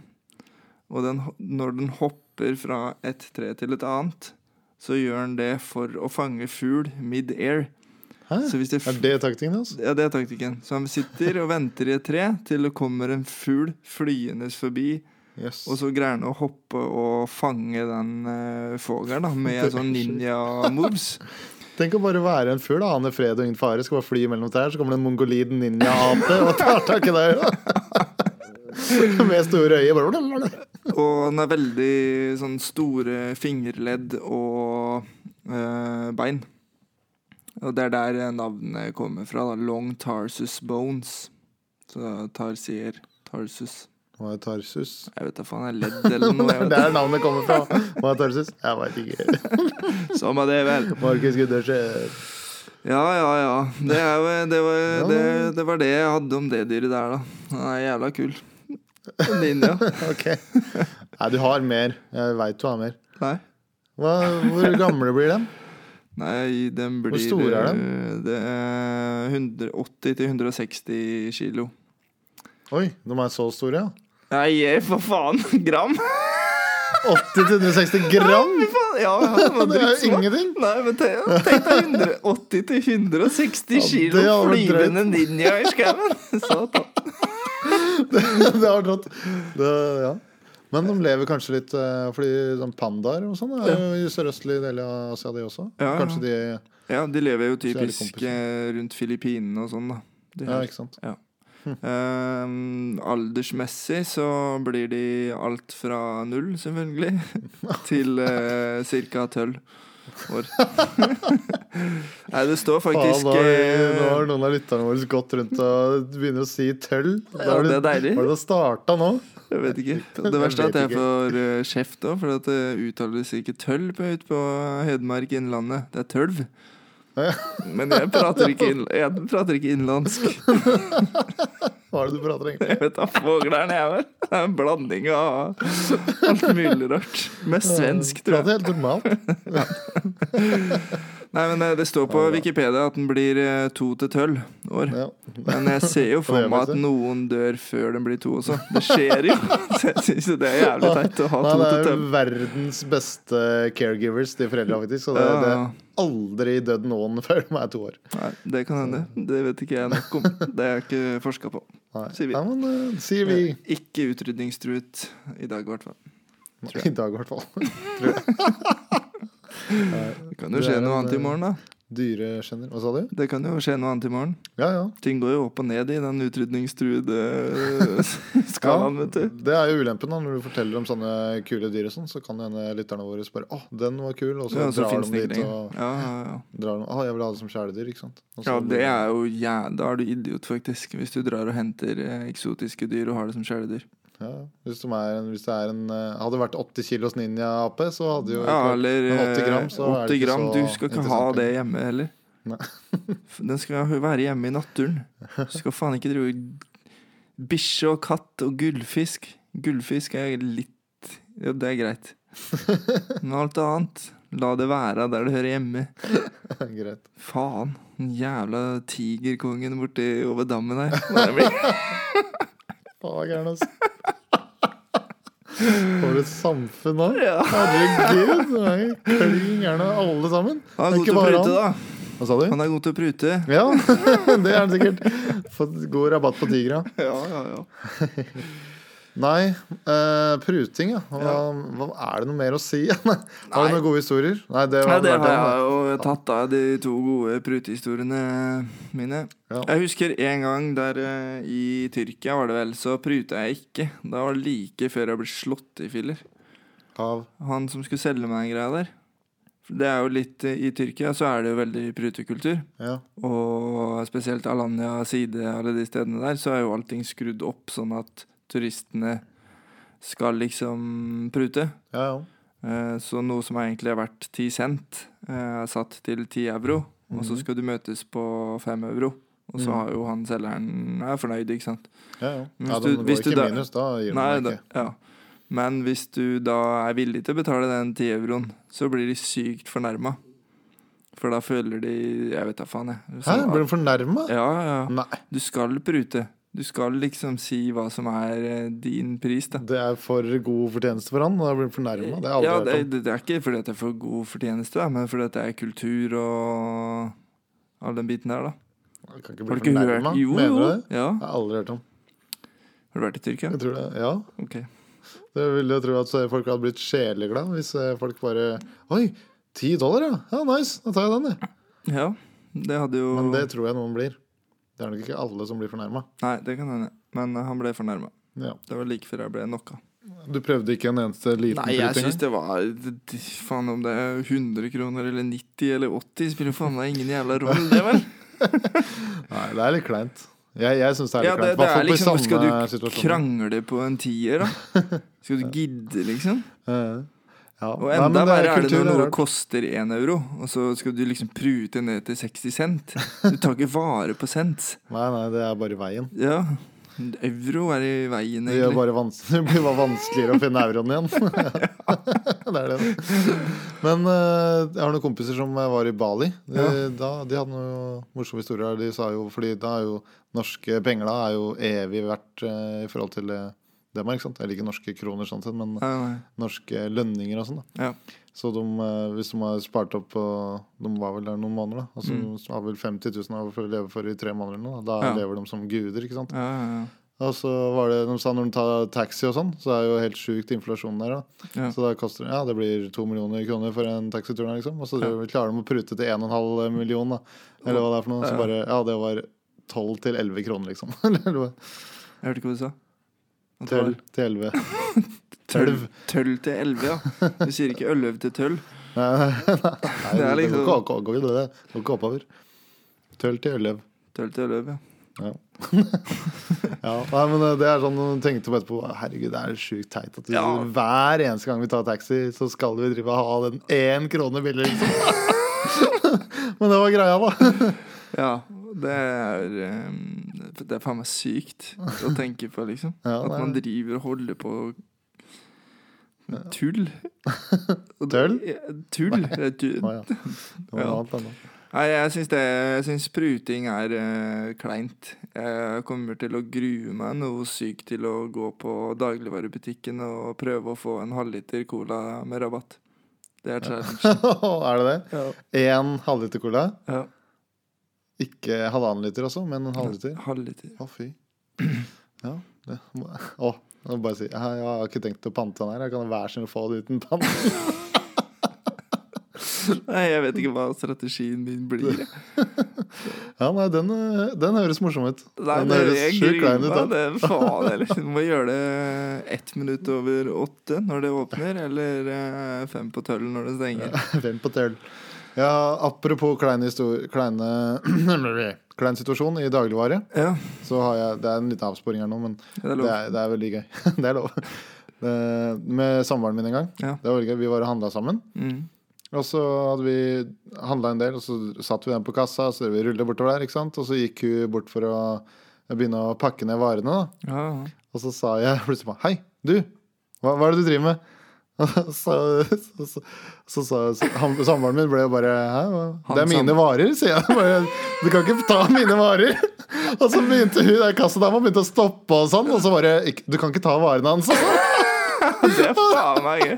Speaker 2: Og den, ho- når den hopper fra et tre til et annet, så gjør den det for å fange fugl mid-air.
Speaker 1: Hæ?
Speaker 2: Så hvis det
Speaker 1: Er det taktikken hans?
Speaker 2: ja, det er taktikken. Så han sitter og venter i et tre til det kommer en fugl flyende forbi
Speaker 1: Yes.
Speaker 2: og så greier han å hoppe og fange den uh, fogeren da, med sånn ninja-moves.
Speaker 1: Tenk å bare være en fugl. da. Ane fred og ingen fare. Skal bare fly mellom trær, så kommer det en mongolid ninja-ape og tar tak i deg. Med store øyne. Bare.
Speaker 2: Og han har veldig sånn store fingerledd og eh, bein. Og det er der navnet kommer fra. da, Long Tarsus Bones. Så Tarsier Tarsus.
Speaker 1: Hva er Tarsus?
Speaker 2: Jeg vet da faen, jeg er ledd eller
Speaker 1: Det
Speaker 2: noe.
Speaker 1: er
Speaker 2: Jeg vet.
Speaker 1: der navnet kommer fra. Hva er Tarsus? Jeg veit ikke.
Speaker 2: ikke. Samme det, vel.
Speaker 1: Markus Gundersen.
Speaker 2: Ja, ja, ja. Det, er jo, det,
Speaker 1: Ja.
Speaker 2: var, det, det var det jeg hadde om det dyret der, da. Han er jævla kul. Ninja.
Speaker 1: Ok. Nei, du har mer. Jeg veit du har mer.
Speaker 2: Nei.
Speaker 1: Hva, hvor gamle blir de?
Speaker 2: Nei, den blir
Speaker 1: store er den?
Speaker 2: eh, Det er 180-160 kilo.
Speaker 1: Oi, de er så store, ja.
Speaker 2: Nei, eh, for faen! Gram!
Speaker 1: 80-160 gram!
Speaker 2: Fy faen, ja, ja, det var
Speaker 1: Det er jo
Speaker 2: drittsmart.
Speaker 1: ingenting.
Speaker 2: Nei, men tenk tenk deg 180-160 kilo
Speaker 1: det hadde vært
Speaker 2: flyvende ninja i skauen! Satan.
Speaker 1: Det har dratt. Det, ja. Men de lever kanskje litt eh, Fordi sånn pandaer og sånn er jo i sørøstlige deler av Asia, de også.
Speaker 2: Ja, ja.
Speaker 1: Kanskje de
Speaker 2: Ja, de lever jo
Speaker 1: er det
Speaker 2: typisk eh, rundt Filippinene og sånn, da. De
Speaker 1: Ja,
Speaker 2: her.
Speaker 1: ikke sant.
Speaker 2: Ehm, aldersmessig så blir de alt fra null, selvfølgelig, til uh, ca. tolv år. Nei, det står
Speaker 1: Faen,
Speaker 2: faktisk
Speaker 1: nå har de- nå
Speaker 2: eh,
Speaker 1: har noen av lytterne våre gått rundt og begynner å si tøll. Da
Speaker 2: Ja,
Speaker 1: har
Speaker 2: det
Speaker 1: du-
Speaker 2: er deilig.
Speaker 1: Har du starta nå?
Speaker 2: Jeg vet ikke. Det verste er at jeg får eh, kjeft òg, for at det uttales ikke tølv på- ute på Hedmark Innlandet. Det er tølv. Men jeg prater ikke, innl jeg prater ikke innlandsk.
Speaker 1: Hva er det du prater egentlig?
Speaker 2: Jeg vet da fogler'n, jeg, vel. Det er en blanding av alt mulig rart. Mest svensk, tror jeg.
Speaker 1: Prater helt normalt.
Speaker 2: Nei, men eh, Det står på Wikipedia at den blir eh, to til tolv år.
Speaker 1: Ja.
Speaker 2: Men jeg ser jo for
Speaker 1: Det gjør
Speaker 2: meg
Speaker 1: vi
Speaker 2: at
Speaker 1: ikke.
Speaker 2: noen dør før den blir to også. Det skjer jo! Så jeg syns det er jævlig teit å ha
Speaker 1: Nei,
Speaker 2: to
Speaker 1: det
Speaker 2: til
Speaker 1: er
Speaker 2: tolv.
Speaker 1: verdens beste caregivers, de foreldra, faktisk. Så det,
Speaker 2: Ja,
Speaker 1: det
Speaker 2: ja.
Speaker 1: er aldri dødd noen før de er to år.
Speaker 2: Nei, Det kan hende. Det vet ikke jeg nok om. Det er jeg ikke forska på.
Speaker 1: Nei.
Speaker 2: Sier vi.
Speaker 1: Nei, men eh, sier vi
Speaker 2: Ikke utrydningstruet i dag, i hvert fall. Tror jeg.
Speaker 1: i dag, i hvert fall.
Speaker 2: Det kan jo
Speaker 1: Det er
Speaker 2: skje
Speaker 1: en,
Speaker 2: noe annet i
Speaker 1: eh,
Speaker 2: morgen, da.
Speaker 1: Dyresjenner. Hva sa du?
Speaker 2: Det kan jo skje noe annet i morgen.
Speaker 1: Ja, ja.
Speaker 2: Ting går jo opp og ned i den utrydningstruede eh, skalaen, vet du.
Speaker 1: Det er jo ulempen da, når du forteller om sånne kule dyr og sånn, så kan det hende lytterne våre spørre Å, den var kul, og så
Speaker 2: Ja, så
Speaker 1: drar
Speaker 2: finnes
Speaker 1: de
Speaker 2: det ikke
Speaker 1: dit
Speaker 2: lenger.
Speaker 1: og
Speaker 2: Ja, ja, ja.
Speaker 1: drar de, Å, jeg vil ha det som kjæledyr, ikke sant. Og så,
Speaker 2: Ja, det er jo ja, Da er du idiot, faktisk, hvis du drar og henter eh, eksotiske dyr og har det som kjæledyr.
Speaker 1: Ja, hvis, de er en, hvis det er en eh, Hadde det vært 80 kilos ninja-ape, så hadde jo
Speaker 2: Ja, eller
Speaker 1: men 80 gram,
Speaker 2: eh,
Speaker 1: så er det
Speaker 2: 80
Speaker 1: ikke
Speaker 2: gram
Speaker 1: så
Speaker 2: Du skal ikke ha
Speaker 1: interessant
Speaker 2: det hjemme heller.
Speaker 1: Nei.
Speaker 2: Den skal jo være hjemme i naturen. Du skal faen ikke drive og- Bikkje og katt og gullfisk. Gullfisk er litt Jo, det er greit. Men alt annet, la det være der det hører hjemme.
Speaker 1: Greit.
Speaker 2: Faen. Den jævla tigerkongen borti over dammen her. Hva det blir?
Speaker 1: Faen, hva er gæren, altså. For et samfunn da.
Speaker 2: Ja.
Speaker 1: Herregud, det er jo klin gærne alle sammen.
Speaker 2: Han
Speaker 1: Det er
Speaker 2: er god
Speaker 1: ikke
Speaker 2: til å
Speaker 1: bare
Speaker 2: prute, da.
Speaker 1: Hva sa du?
Speaker 2: Han er god til å prute.
Speaker 1: Ja, det er han sikkert. Fått god rabatt på tigra.
Speaker 2: Ja, ja, ja.
Speaker 1: Nei, eh, pruting, ja. Hva,
Speaker 2: Ja.
Speaker 1: hva. Er det noe mer å si? har du noen gode historier? Nei, det
Speaker 2: Ja,
Speaker 1: var
Speaker 2: det
Speaker 1: det.
Speaker 2: har jeg jo tatt av de to gode prutehistoriene mine.
Speaker 1: Ja.
Speaker 2: Jeg husker en gang der eh, i Tyrkia, var det vel, så pruta jeg ikke. Da var det like før jeg ble slått i filler.
Speaker 1: Av
Speaker 2: Han som skulle selge meg en greie der. For Det er jo litt eh, I Tyrkia så er det jo veldig prutekultur.
Speaker 1: ja.
Speaker 2: Og spesielt Alanya, Side, alle de stedene der, så er jo allting skrudd opp sånn at turistene skal liksom prute.
Speaker 1: Ja, ja.
Speaker 2: Eh, Så noe som egentlig er verdt 10 cent, eh, er satt til 10 euro. Og så skal du møtes på 5 euro. Og så
Speaker 1: Mhm.
Speaker 2: har jo han selgeren er fornøyd, ikke sant.
Speaker 1: ja, ja.
Speaker 2: Hvis
Speaker 1: ja
Speaker 2: du-
Speaker 1: de går
Speaker 2: hvis du
Speaker 1: ikke
Speaker 2: da-
Speaker 1: minus, da gir de
Speaker 2: Nei,
Speaker 1: meg
Speaker 2: da,
Speaker 1: ikke.
Speaker 2: ja. Men hvis du da er villig til å betale den 10 euroen, så blir de sykt fornærma. For da føler de Jeg vet da faen, jeg.
Speaker 1: Hæ,
Speaker 2: Sånn-
Speaker 1: blir de fornærma?
Speaker 2: ja, ja. ja.
Speaker 1: Nei,
Speaker 2: Du skal prute. Du skal liksom si hva som er eh, din pris, da.
Speaker 1: det er for god fortjeneste for han. Da blir de fornærma. Det har jeg
Speaker 2: Ja,
Speaker 1: aldri
Speaker 2: det,
Speaker 1: hørt om.
Speaker 2: det, det er ikke fordi at jeg får god fortjeneste, da, men fordi at det er kultur og all den biten der, da.
Speaker 1: Jeg kan ikke bli
Speaker 2: Har du ikke hørt?
Speaker 1: fornærma,
Speaker 2: Jo,
Speaker 1: mener du
Speaker 2: jo.
Speaker 1: det?
Speaker 2: Ja.
Speaker 1: Jeg har aldri hørt om.
Speaker 2: Har du vært i Tyrkia?
Speaker 1: Jeg tror det, ja.
Speaker 2: Ok.
Speaker 1: Det ville jo tro at folk hadde blitt sjeleglad hvis eh, folk bare Oi, ti dollar, ja. Ja, nice. Da tar jeg den, jeg.
Speaker 2: Ja, det hadde jo
Speaker 1: Men det tror jeg noen blir. Det er nok ikke alle som blir fornærma.
Speaker 2: Nei, det kan hende. Men eh, han ble fornærma.
Speaker 1: Ja.
Speaker 2: Det var like før jeg ble knocka.
Speaker 1: Du prøvde ikke en eneste liten
Speaker 2: Nei, jeg
Speaker 1: prut
Speaker 2: syns
Speaker 1: engang?
Speaker 2: det var d- d- Faen om det er 100 kroner eller 90 eller 80, spiller faen meg ingen jævla rolle, det, vel?
Speaker 1: Nei, det er litt kleint. Jeg, jeg syns det er
Speaker 2: Ja,
Speaker 1: litt kleint.
Speaker 2: det, det
Speaker 1: Hvertfall
Speaker 2: er
Speaker 1: på
Speaker 2: liksom,
Speaker 1: samme
Speaker 2: Skal du
Speaker 1: situasjoner.
Speaker 2: krangle på en tier, da? Skal du gidde, liksom?
Speaker 1: Eh, Ja.
Speaker 2: Og
Speaker 1: Nei,
Speaker 2: enda
Speaker 1: men det
Speaker 2: verre er det
Speaker 1: kultur,
Speaker 2: når noe
Speaker 1: rart.
Speaker 2: koster én euro, og så skal du liksom prute ned til 60 cent. Du tar ikke vare på cent.
Speaker 1: Nei, nei, det er bare i veien.
Speaker 2: Ja. Euro er i veien,
Speaker 1: Det, gjør
Speaker 2: egentlig.
Speaker 1: bare vans det blir bare vanskeligere å finne euroen igjen. det er det. Men eh, jeg har noen kompiser som var i Bali. De, da, de hadde noen morsomme historier. De sa jo, fordi da er jo norske penger da er jo evig verdt eh, i forhold til eh, dem. ikke sant? Eller ikke norske kroner, sånn sett, men
Speaker 2: Ja, nei.
Speaker 1: norske lønninger og sånn. da.
Speaker 2: Ja.
Speaker 1: Så de, eh, hvis de har spart opp og De var vel der noen måneder, da. Altså, De har vel 50 000 å leve for i tre måneder, eller noe, da, da
Speaker 2: Mm. Ja.
Speaker 1: lever de som guder. ikke sant?
Speaker 2: Ja, ja,
Speaker 1: Og så var det, De sa når de tar taxi og sånn, så er jo helt sjukt inflasjonen der. da
Speaker 2: Ja.
Speaker 1: Så da koster det, ja, det blir to millioner kroner for en taxitur. der, liksom Og så klarer de å prute til 1,5 eh, million, da. Eller hva det er for noe. Så
Speaker 2: Ja.
Speaker 1: bare, ja, det var 12 til 11 kroner, liksom. Eller hva?
Speaker 2: ja. Jeg hørte ikke hva du sa. At det
Speaker 1: til,
Speaker 2: var
Speaker 1: til 11.
Speaker 2: Tølv. Tøll til elleve, ja. Du sier ikke øløv til tøll.
Speaker 1: Nei, nei, nei,
Speaker 2: Det er
Speaker 1: det
Speaker 2: liksom-
Speaker 1: går ikke- går ikke det. Det går ikke oppover. Tøll til 11.
Speaker 2: Tøll til øløv, ja.
Speaker 1: Ja, nei, men det er sånn man tenkte på etterpå. Herregud, det er sjukt teit at vi,
Speaker 2: Ja.
Speaker 1: hver eneste gang vi tar taxi, så skal vi drive og ha den én krone billigere, liksom. men det var greia, da.
Speaker 2: Ja, det er eh, Det er faen meg sykt å tenke på, liksom.
Speaker 1: Ja,
Speaker 2: At
Speaker 1: det er-
Speaker 2: man driver og holder på med tull. Og det-
Speaker 1: Tøll?
Speaker 2: Ja, Tull. det er tull.
Speaker 1: Å, ja. Det var noe
Speaker 2: Ja.
Speaker 1: annet, denne.
Speaker 2: Nei, jeg syns det Jeg syns pruting er eh, kleint. Jeg kommer til å grue meg noe sykt til å gå på dagligvarebutikken og prøve å få en halvliter cola med rabatt. Det er challenge.
Speaker 1: er det det?
Speaker 2: Ja.
Speaker 1: Én halvliter cola.
Speaker 2: Ja.
Speaker 1: Ikke halvannen liter også, men en halvliter.
Speaker 2: Halvliter.
Speaker 1: Å, fy. Ja. Det. må- Å, jeg må bare si Jeg har ikke tenkt å pante den her. Jeg kan hver sin få det uten pant.
Speaker 2: Nei, jeg vet ikke hva strategien min blir.
Speaker 1: Ja, nei, den, eh, den høres morsom ut.
Speaker 2: Nei,
Speaker 1: Den
Speaker 2: det,
Speaker 1: høres
Speaker 2: jeg
Speaker 1: sjukt
Speaker 2: gruer
Speaker 1: klein ut.
Speaker 2: meg.
Speaker 1: da.
Speaker 2: Det, faen, jeg liksom må gjøre det ett minutt over åtte når det åpner, eller eh, fem på tølv når det stenger.
Speaker 1: Fem på tøll. Ja, apropos kleine histor- kleine Klein situasjon i dagligvare,
Speaker 2: Ja,
Speaker 1: så har jeg Det er en liten avsporing her nå, men
Speaker 2: det er
Speaker 1: det
Speaker 2: lov.
Speaker 1: er, det er veldig gøy. Det er lov. Eh, Med samboeren min en gang.
Speaker 2: Ja.
Speaker 1: Det var veldig gøy. Vi var og handla sammen.
Speaker 2: Mm.
Speaker 1: Og så hadde vi handla en del, og så satt vi den på kassa, og så drev vi rulle bortover der, ikke sant? Og så gikk hun bort for å begynne å pakke ned varene, da.
Speaker 2: Ja, ja.
Speaker 1: Og så sa jeg plutselig bare Hei, du! Hva, hva er det du driver med? Og så, så, så, så, sa- så han, Samboeren min ble jo bare Hæ? hva- Det er
Speaker 2: Han sam-
Speaker 1: mine varer, sier jeg. Bare, du kan ikke ta mine varer! Og så begynte hun der kassadama begynte å stoppe og sånn, og så bare "Ikk- Du kan ikke ta varene hans!
Speaker 2: Det er faen meg gøy.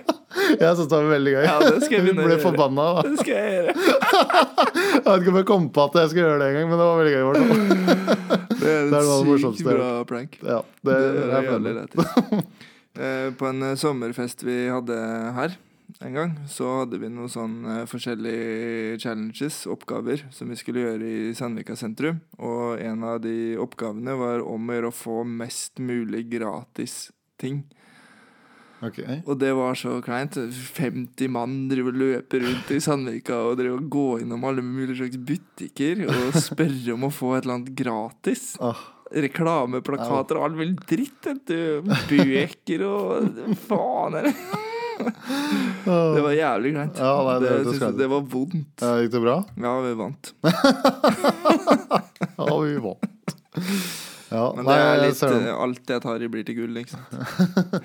Speaker 1: Jeg syntes det var veldig gøy.
Speaker 2: Ja, det skal jeg
Speaker 1: hun
Speaker 2: begynne å
Speaker 1: ble
Speaker 2: gjøre.
Speaker 1: forbanna. da.
Speaker 2: Det skal jeg gjøre.
Speaker 1: Jeg vet ikke om jeg kom på at jeg skulle gjøre det engang, men det var veldig gøy. i hvert fall.
Speaker 2: Det er
Speaker 1: Det er noe av det
Speaker 2: en sykt
Speaker 1: morsomste jeg har
Speaker 2: bra prank.
Speaker 1: Ja, det,
Speaker 2: Det
Speaker 1: det
Speaker 2: er
Speaker 1: er veldig
Speaker 2: jævlig rett. Eh, På en eh, sommerfest vi hadde her en gang, så hadde vi noen sånn eh, forskjellige challenges, oppgaver, som vi skulle gjøre i Sandvika sentrum. Og en av de oppgavene var om å gjøre å få mest mulig gratis ting.
Speaker 1: Ok.
Speaker 2: Og det var så kleint. 50 mann driver og løper rundt i Sandvika og driver og går innom alle mulige slags butikker og spørre om å få et eller annet gratis.
Speaker 1: Åh,
Speaker 2: Reklameplakater og all mulig dritt. vet du. Bøker og faen er det? Det var jævlig kleint.
Speaker 1: Ja, nei, det
Speaker 2: det,
Speaker 1: hørtes
Speaker 2: synes jeg-
Speaker 1: kleint ut.
Speaker 2: det var vondt.
Speaker 1: Ah. ja, Gikk det bra?
Speaker 2: Ja, vi vant.
Speaker 1: Ja, vi vant. Ja,
Speaker 2: Men
Speaker 1: nei,
Speaker 2: det er
Speaker 1: jeg
Speaker 2: litt
Speaker 1: ser den.
Speaker 2: eh, Alt jeg tar i, blir til gull, liksom. ikke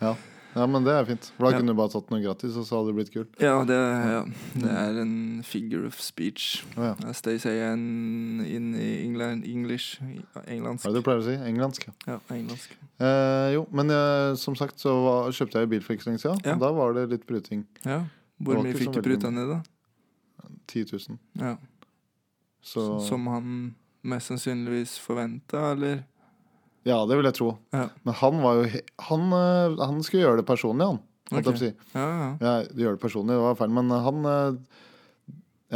Speaker 2: sant.
Speaker 1: ja, men det er fint. For da
Speaker 2: Ja.
Speaker 1: kunne du bare tatt noe gratis, og så hadde det blitt kult.
Speaker 2: Ja, det, ja. det er en figure of speech.
Speaker 1: Å ja.
Speaker 2: As they say in, in England, English Englandsk.
Speaker 1: Hva er det du pleier å si? Engelsk. Ja.
Speaker 2: Ja, engelsk.
Speaker 1: Eh, jo, men eh, som sagt så var, kjøpte jeg bil for ikke så lenge siden.
Speaker 2: Ja.
Speaker 1: Da var det litt pruting.
Speaker 2: Ja.
Speaker 1: Det
Speaker 2: Hvor
Speaker 1: var
Speaker 2: mye
Speaker 1: ikke
Speaker 2: fikk
Speaker 1: så
Speaker 2: du
Speaker 1: veldig
Speaker 2: pruta ned, da?
Speaker 1: 10 000.
Speaker 2: Ja.
Speaker 1: Så
Speaker 2: Som han mest sannsynligvis forventa, eller?
Speaker 1: Ja, det vil jeg tro.
Speaker 2: Ja.
Speaker 1: Men han var jo he han, eh, han skulle gjøre det personlig, han. holdt jeg
Speaker 2: Ok.
Speaker 1: på å Si.
Speaker 2: Ja, ja.
Speaker 1: Ja, gjør det personlig, det var feil, men han eh,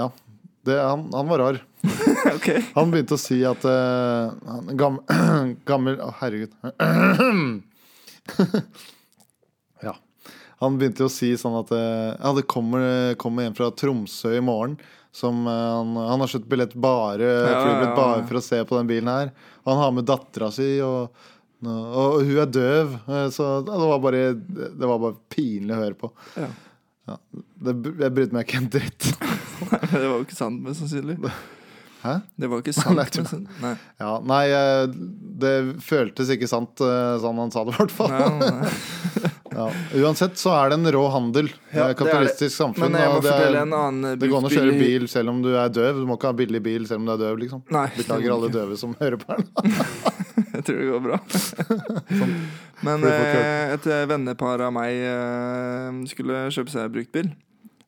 Speaker 1: Ja. Det, han, han var rar.
Speaker 2: ok.
Speaker 1: Han begynte å si at eh, han, gam, Gammel Å, herregud. ja. Han begynte jo å si sånn at eh, Ja, det kommer, kommer en fra Tromsø i morgen som eh, han, han har kjøpt billett bare,
Speaker 2: Ja,
Speaker 1: flybillett
Speaker 2: ja.
Speaker 1: bare for å se på den bilen her. Han har med dattera si, og, og, og hun er døv. eh, Så ja, det var bare, det var bare pinlig å høre på.
Speaker 2: Ja.
Speaker 1: Det, jeg brydde meg ikke en dritt.
Speaker 2: det var jo ikke sant, mest sannsynlig.
Speaker 1: Hæ?
Speaker 2: Det var jo ikke sant.
Speaker 1: Nei,
Speaker 2: mest sannsynlig. Nei.
Speaker 1: Ja, nei, eh, det føltes ikke sant eh, sånn han sa det, i hvert fall.
Speaker 2: Nei, nei, nei.
Speaker 1: Ja. Uansett så er det en rå handel.
Speaker 2: Ja,
Speaker 1: Eh,
Speaker 2: det er
Speaker 1: Kapitalistisk samfunn.
Speaker 2: Men jeg må
Speaker 1: og det,
Speaker 2: fortelle
Speaker 1: er,
Speaker 2: en annen eh,
Speaker 1: det går an å kjøre
Speaker 2: bruktbil-
Speaker 1: bil selv om du er døv. Du må ikke ha billig bil selv om du er døv, liksom.
Speaker 2: Nei,
Speaker 1: Beklager alle døve som hører på her.
Speaker 2: Jeg tror det går bra. Men
Speaker 1: Free Sånn. for
Speaker 2: eh, et vennepar av meg eh, skulle kjøpe seg bruktbil.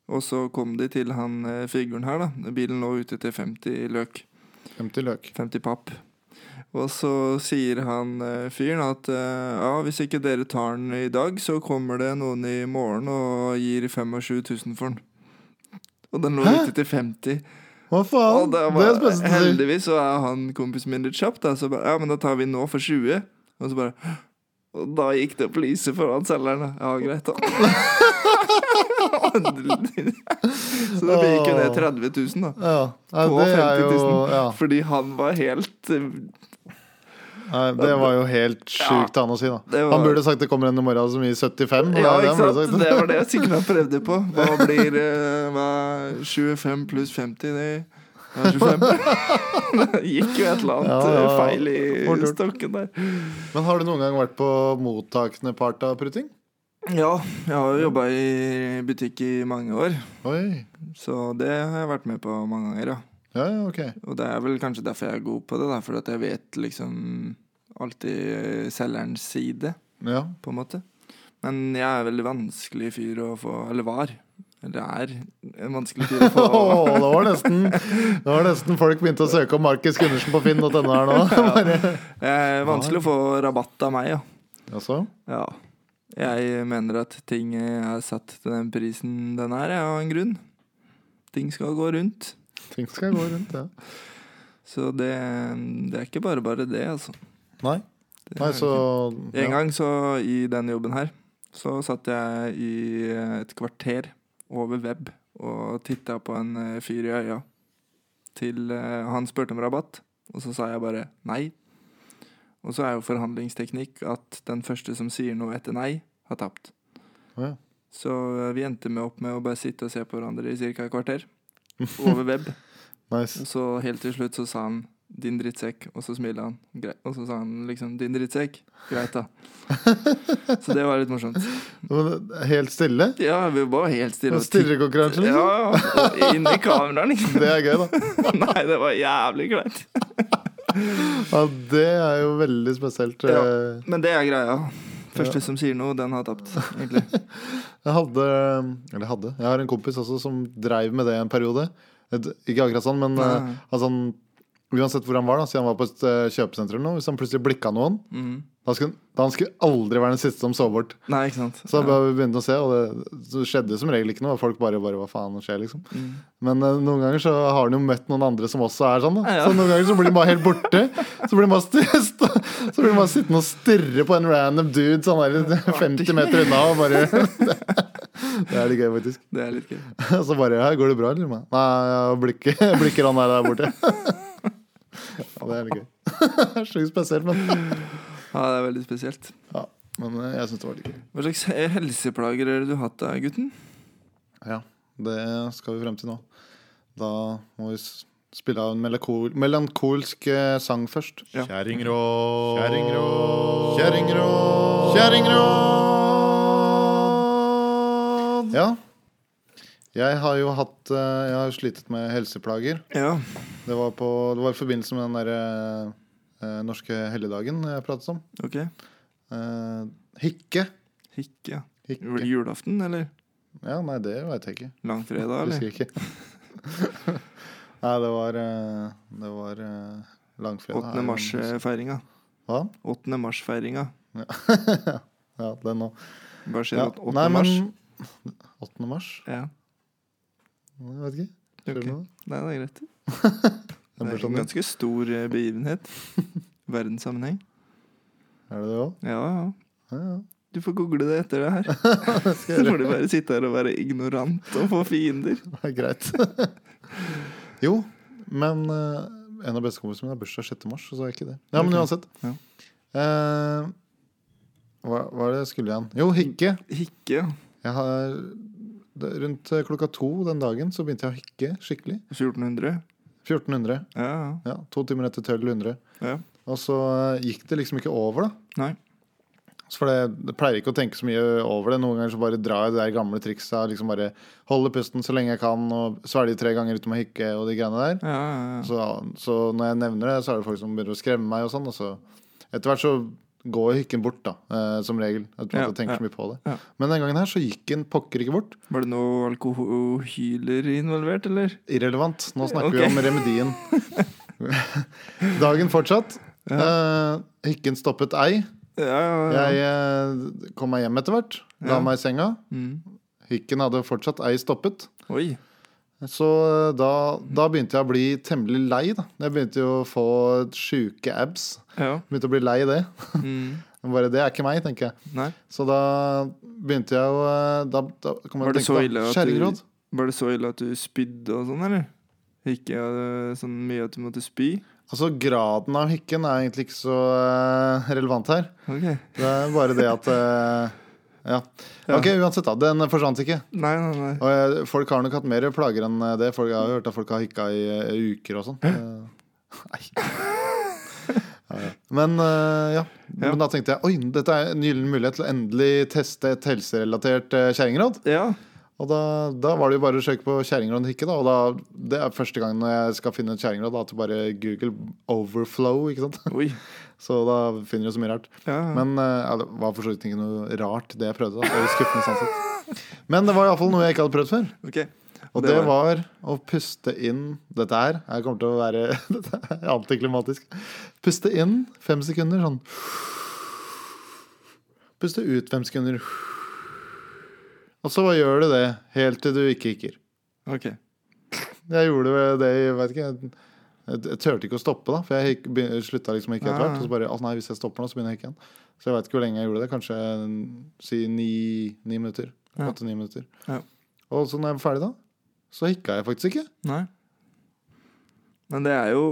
Speaker 2: Og så kom de til han eh, figuren her, da. Bilen lå ute til 50 løk.
Speaker 1: 50 løk.
Speaker 2: 50 papp. Og så sier han eh, fyren at eh, ja, hvis ikke dere tar den i dag, så kommer det noen i morgen og gir 25 000 for den. Og den lå
Speaker 1: Hæ?
Speaker 2: ute til 50.
Speaker 1: Hva faen?
Speaker 2: Og
Speaker 1: Det
Speaker 2: da
Speaker 1: er
Speaker 2: var,
Speaker 1: det beste å si.
Speaker 2: heldigvis så er han kompisen min litt kjapp, da, så bare, ja, men da tar vi nå for 20. Og så bare «Hå!» Og da gikk det opp lyset for han selgeren, da. Ja, greit, da. så da gikk jo ned 30 000, da.
Speaker 1: Ja. Nei,
Speaker 2: På
Speaker 1: det er
Speaker 2: 50
Speaker 1: jo
Speaker 2: 000.
Speaker 1: ja.
Speaker 2: Fordi han var helt eh,
Speaker 1: Nei, Det var jo helt sjukt an å si, da.
Speaker 2: Det var-
Speaker 1: Han burde sagt det kommer en i morgen som gir 75.
Speaker 2: Ja,
Speaker 1: det er det han
Speaker 2: ikke
Speaker 1: burde
Speaker 2: sant?
Speaker 1: sagt.
Speaker 2: Det var det jeg sikkert har prøvd det på. Hva blir eh, hva, 25 pluss 50? Det ja, 25. Det gikk jo et eller annet
Speaker 1: Ja, ja,
Speaker 2: eh,
Speaker 1: ja.
Speaker 2: feil i
Speaker 1: Fort gjort.
Speaker 2: stokken der.
Speaker 1: Men har du noen gang vært på mottakende part av pruting?
Speaker 2: Ja, jeg har jo jobba i butikk i mange år,
Speaker 1: Oi.
Speaker 2: så det har jeg vært med på mange ganger, ja.
Speaker 1: Ja, ja, ok.
Speaker 2: Og det er vel kanskje derfor jeg er god på det, da, fordi at jeg vet liksom alltid selgerens side,
Speaker 1: Ja.
Speaker 2: på en måte. Men jeg er veldig vanskelig fyr å få Eller var. Eller er en vanskelig fyr å få
Speaker 1: Åh, det var nesten Det var nesten folk begynte å søke om Markus Gundersen på Finn.no her nå. Bare-
Speaker 2: Jeg er vanskelig å få rabatt av meg, ja.
Speaker 1: Jaså?
Speaker 2: ja. Jeg mener at ting er satt til den prisen den er, ja, av en grunn. Ting skal gå rundt.
Speaker 1: Ting skal gå rundt, ja.
Speaker 2: Så det, det er ikke bare bare det, altså.
Speaker 1: Nei,
Speaker 2: Det
Speaker 1: Nei
Speaker 2: er
Speaker 1: så
Speaker 2: ikke- En
Speaker 1: ja.
Speaker 2: gang så i den jobben her, så satt jeg i et kvarter over web og titta på en eh, fyr i øya. Til eh, han spurte om rabatt, og så sa jeg bare nei. Og så er jo forhandlingsteknikk at den første som sier noe etter nei, har tapt.
Speaker 1: Ja.
Speaker 2: Så eh, vi endte med opp med å bare sitte og se på hverandre i ca. et kvarter. Over web.
Speaker 1: Nice.
Speaker 2: Og så helt til slutt så sa han 'din drittsekk', og så smilte han. Greit. Og så sa han liksom 'din drittsekk'. Greit, da. Så det var litt morsomt.
Speaker 1: Men Helt stille?
Speaker 2: Ja, vi var helt stille. og
Speaker 1: Stirrekonkurranse,
Speaker 2: titt-
Speaker 1: liksom?
Speaker 2: Ja, og inn i kameraet, liksom.
Speaker 1: Det er gøy, da.
Speaker 2: Nei, det var jævlig kleint.
Speaker 1: Ja, det er jo veldig spesielt.
Speaker 2: Ja.
Speaker 1: eh.
Speaker 2: Men det er greia. Første som sier noe, den har tapt, egentlig.
Speaker 1: Jeg hadde Eller jeg hadde. Jeg har en kompis også som dreiv med det en periode. Et- Ikke akkurat sånn, men
Speaker 2: Nei.
Speaker 1: eh, altså han, uansett hvor han var, da siden han var på et eh, kjøpesenter eller noe, hvis han plutselig blikka noen,
Speaker 2: Mhm.
Speaker 1: da skulle, da han skulle aldri være den siste som så bort.
Speaker 2: Nei, ikke sant.
Speaker 1: Så
Speaker 2: Ja.
Speaker 1: jeg begynte å se, og det, så skjedde jo som regel ikke noe. og Folk bare, bare hva faen skjer, liksom.
Speaker 2: Mm.
Speaker 1: Men eh, noen ganger så har han jo møtt noen andre som også er sånn. Da.
Speaker 2: Ja, ja.
Speaker 1: Så noen ganger så blir han bare helt borte. Så blir han bare, st- st- så blir han bare sittende og stirre på en random dude sånn der 50 meter unna og bare Det, det er litt gøy, faktisk.
Speaker 2: Det er litt gøy.
Speaker 1: Så bare ja, 'Går det bra, eller?' Nei, jeg blikker, blikker han der, der borte. Ja, det er litt gøy. Det er Sjukt spesielt, men,
Speaker 2: Ja, det er veldig spesielt.
Speaker 1: ja, men eh, jeg syns det var litt gøy.
Speaker 2: Hva slags helseplager har du hatt da, gutten?
Speaker 1: Ja, det skal vi frem til nå. Da må vi s- spille av en melankol melankolsk eh, sang først.
Speaker 2: Ja.
Speaker 1: Kjerringrå, kjerringrå, kjerringrå, kjerringrå. Ja. Jeg har jo hatt eh, Jeg har jo slitet med helseplager.
Speaker 2: Ja.
Speaker 1: Det var, på, det var i forbindelse med den derre eh, norske helligdagen jeg pratet om.
Speaker 2: Ok.
Speaker 1: Eh, hikke.
Speaker 2: Hikke, ja. Var det
Speaker 1: hikke.
Speaker 2: Julaften, eller?
Speaker 1: Ja, nei, det veit jeg ikke.
Speaker 2: Langfredag, eller?
Speaker 1: Husker ikke. Nei, det var eh, Det var eh, langfredag.
Speaker 2: 8. mars-feiringa.
Speaker 1: Hva?
Speaker 2: 8. mars-feiringa.
Speaker 1: Ja, den nå.
Speaker 2: Hva skjer
Speaker 1: Ja.
Speaker 2: 8.
Speaker 1: Nei, men-
Speaker 2: mars?
Speaker 1: 8. mars?
Speaker 2: Ja,
Speaker 1: Jeg vet ikke.
Speaker 2: ok.
Speaker 1: Skjer det noe?
Speaker 2: Nei, det er greit.
Speaker 1: Det
Speaker 2: Det
Speaker 1: blir
Speaker 2: er en
Speaker 1: sånn,
Speaker 2: ganske stor eh, begivenhet. Verdenssammenheng.
Speaker 1: Er det det òg?
Speaker 2: Ja, ja.
Speaker 1: Ja, ja.
Speaker 2: Du får google det etter det her. Så får du bare sitte her og være ignorant og få fiender.
Speaker 1: Det er greit. jo, men eh, en av bestekompisene mine har bursdag 6. mars, så sa jeg ikke det. Ja, men
Speaker 2: Ok.
Speaker 1: uansett.
Speaker 2: Ja.
Speaker 1: Eh, hva var det jeg skulle igjen? Jo, hikke.
Speaker 2: Hikke.
Speaker 1: Jeg har, det, rundt eh, klokka to den dagen så begynte jeg å hikke skikkelig.
Speaker 2: 1400.
Speaker 1: 1400.
Speaker 2: Ja,
Speaker 1: Ja, to timer etter 1200.
Speaker 2: ja. ja.
Speaker 1: Og så eh, gikk det liksom ikke over, da.
Speaker 2: Nei.
Speaker 1: Så For det, det pleier ikke å tenke så mye over det. Noen ganger så bare drar jeg det der gamle trikset. Liksom bare holde pusten så lenge jeg kan, og svelge tre ganger uten å hikke og de greiene der.
Speaker 2: Ja, ja, ja.
Speaker 1: Så, så når jeg nevner det, så er det folk som begynner å skremme meg og sånn. Og så etter hvert så går hykken bort, da, eh, som regel. Jeg tror
Speaker 2: Ja,
Speaker 1: ikke jeg tenker
Speaker 2: ja,
Speaker 1: så mye på det.
Speaker 2: ja.
Speaker 1: Men den gangen her så gikk den pokker ikke bort.
Speaker 2: Var det noe alkohyler involvert, eller?
Speaker 1: Irrelevant. Nå snakker
Speaker 2: Ok.
Speaker 1: vi om remedien. Dagen fortsatt. Eh, hykken stoppet ei.
Speaker 2: Ja, ja, ja.
Speaker 1: Jeg eh, kom meg hjem etter hvert. La
Speaker 2: Ja.
Speaker 1: meg i senga.
Speaker 2: Mm.
Speaker 1: Hykken hadde fortsatt ei stoppet.
Speaker 2: Oi.
Speaker 1: Så eh, da, da begynte jeg å bli temmelig lei. da Jeg begynte jo å få sjuke abs.
Speaker 2: Ja.
Speaker 1: Begynte å bli lei det.
Speaker 2: Mm.
Speaker 1: Bare det er ikke meg, tenker jeg.
Speaker 2: Nei.
Speaker 1: Så da begynte jeg å eh, Da, da kom jeg
Speaker 2: Var
Speaker 1: til å
Speaker 2: det så
Speaker 1: tenke
Speaker 2: ille
Speaker 1: på
Speaker 2: at du-
Speaker 1: skjæringråd.
Speaker 2: Var det så ille at du spydde og sånn, eller? Ikke eh, sånn mye at du måtte spy?
Speaker 1: Altså, graden av hykken er egentlig ikke så eh, relevant her.
Speaker 2: Ok.
Speaker 1: Det er bare det at eh, Ja.
Speaker 2: Ja.
Speaker 1: Ok, uansett, da. Den forsvant ikke.
Speaker 2: Nei, nei, nei.
Speaker 1: Og eh, folk har nok hatt mer plager enn eh, det. Folk jeg har hørt at folk har hikka i eh, uker og sånn. Eh, Nei. Ja, ja. Men eh, ja.
Speaker 2: Ja.
Speaker 1: Men da tenkte jeg oi, dette er en gyllen mulighet til å endelig teste et helserelatert eh, kjerringråd.
Speaker 2: Ja.
Speaker 1: Og da, da var det jo bare å søke på kjerringråd hikke, da. Og da, det er første gang når jeg skal finne et kjerringråd, da, at du bare Google overflow, ikke sant.
Speaker 2: Oi.
Speaker 1: Så da finner du så mye rart.
Speaker 2: Ja.
Speaker 1: Men eh, ja, det var for så vidt ikke noe rart, det jeg prøvde. Da. Det var skuffende, sånn sett. Men det var iallfall noe jeg ikke hadde prøvd før.
Speaker 2: Ok.
Speaker 1: Og det var å puste inn Dette her jeg kommer til å være dette er antiklimatisk. Puste inn fem sekunder sånn. Puste ut fem sekunder. Og så bare gjør du det helt til du ikke hikker.
Speaker 2: Ok.
Speaker 1: Jeg gjorde vel det i vet ikke, jeg, jeg turte ikke å stoppe, da. For jeg gikk, be- slutta liksom å hikke etter
Speaker 2: Ah.
Speaker 1: hvert. Og så bare «Å, nei, hvis jeg stopper nå, så begynner jeg å hikke igjen. Så jeg veit ikke hvor lenge jeg gjorde det. Kanskje si ni, ni minutter.
Speaker 2: Ja.
Speaker 1: Åtte-ni minutter.
Speaker 2: Ja.
Speaker 1: Og så når jeg var ferdig, da, så hikka jeg faktisk ikke.
Speaker 2: Nei. Men det er jo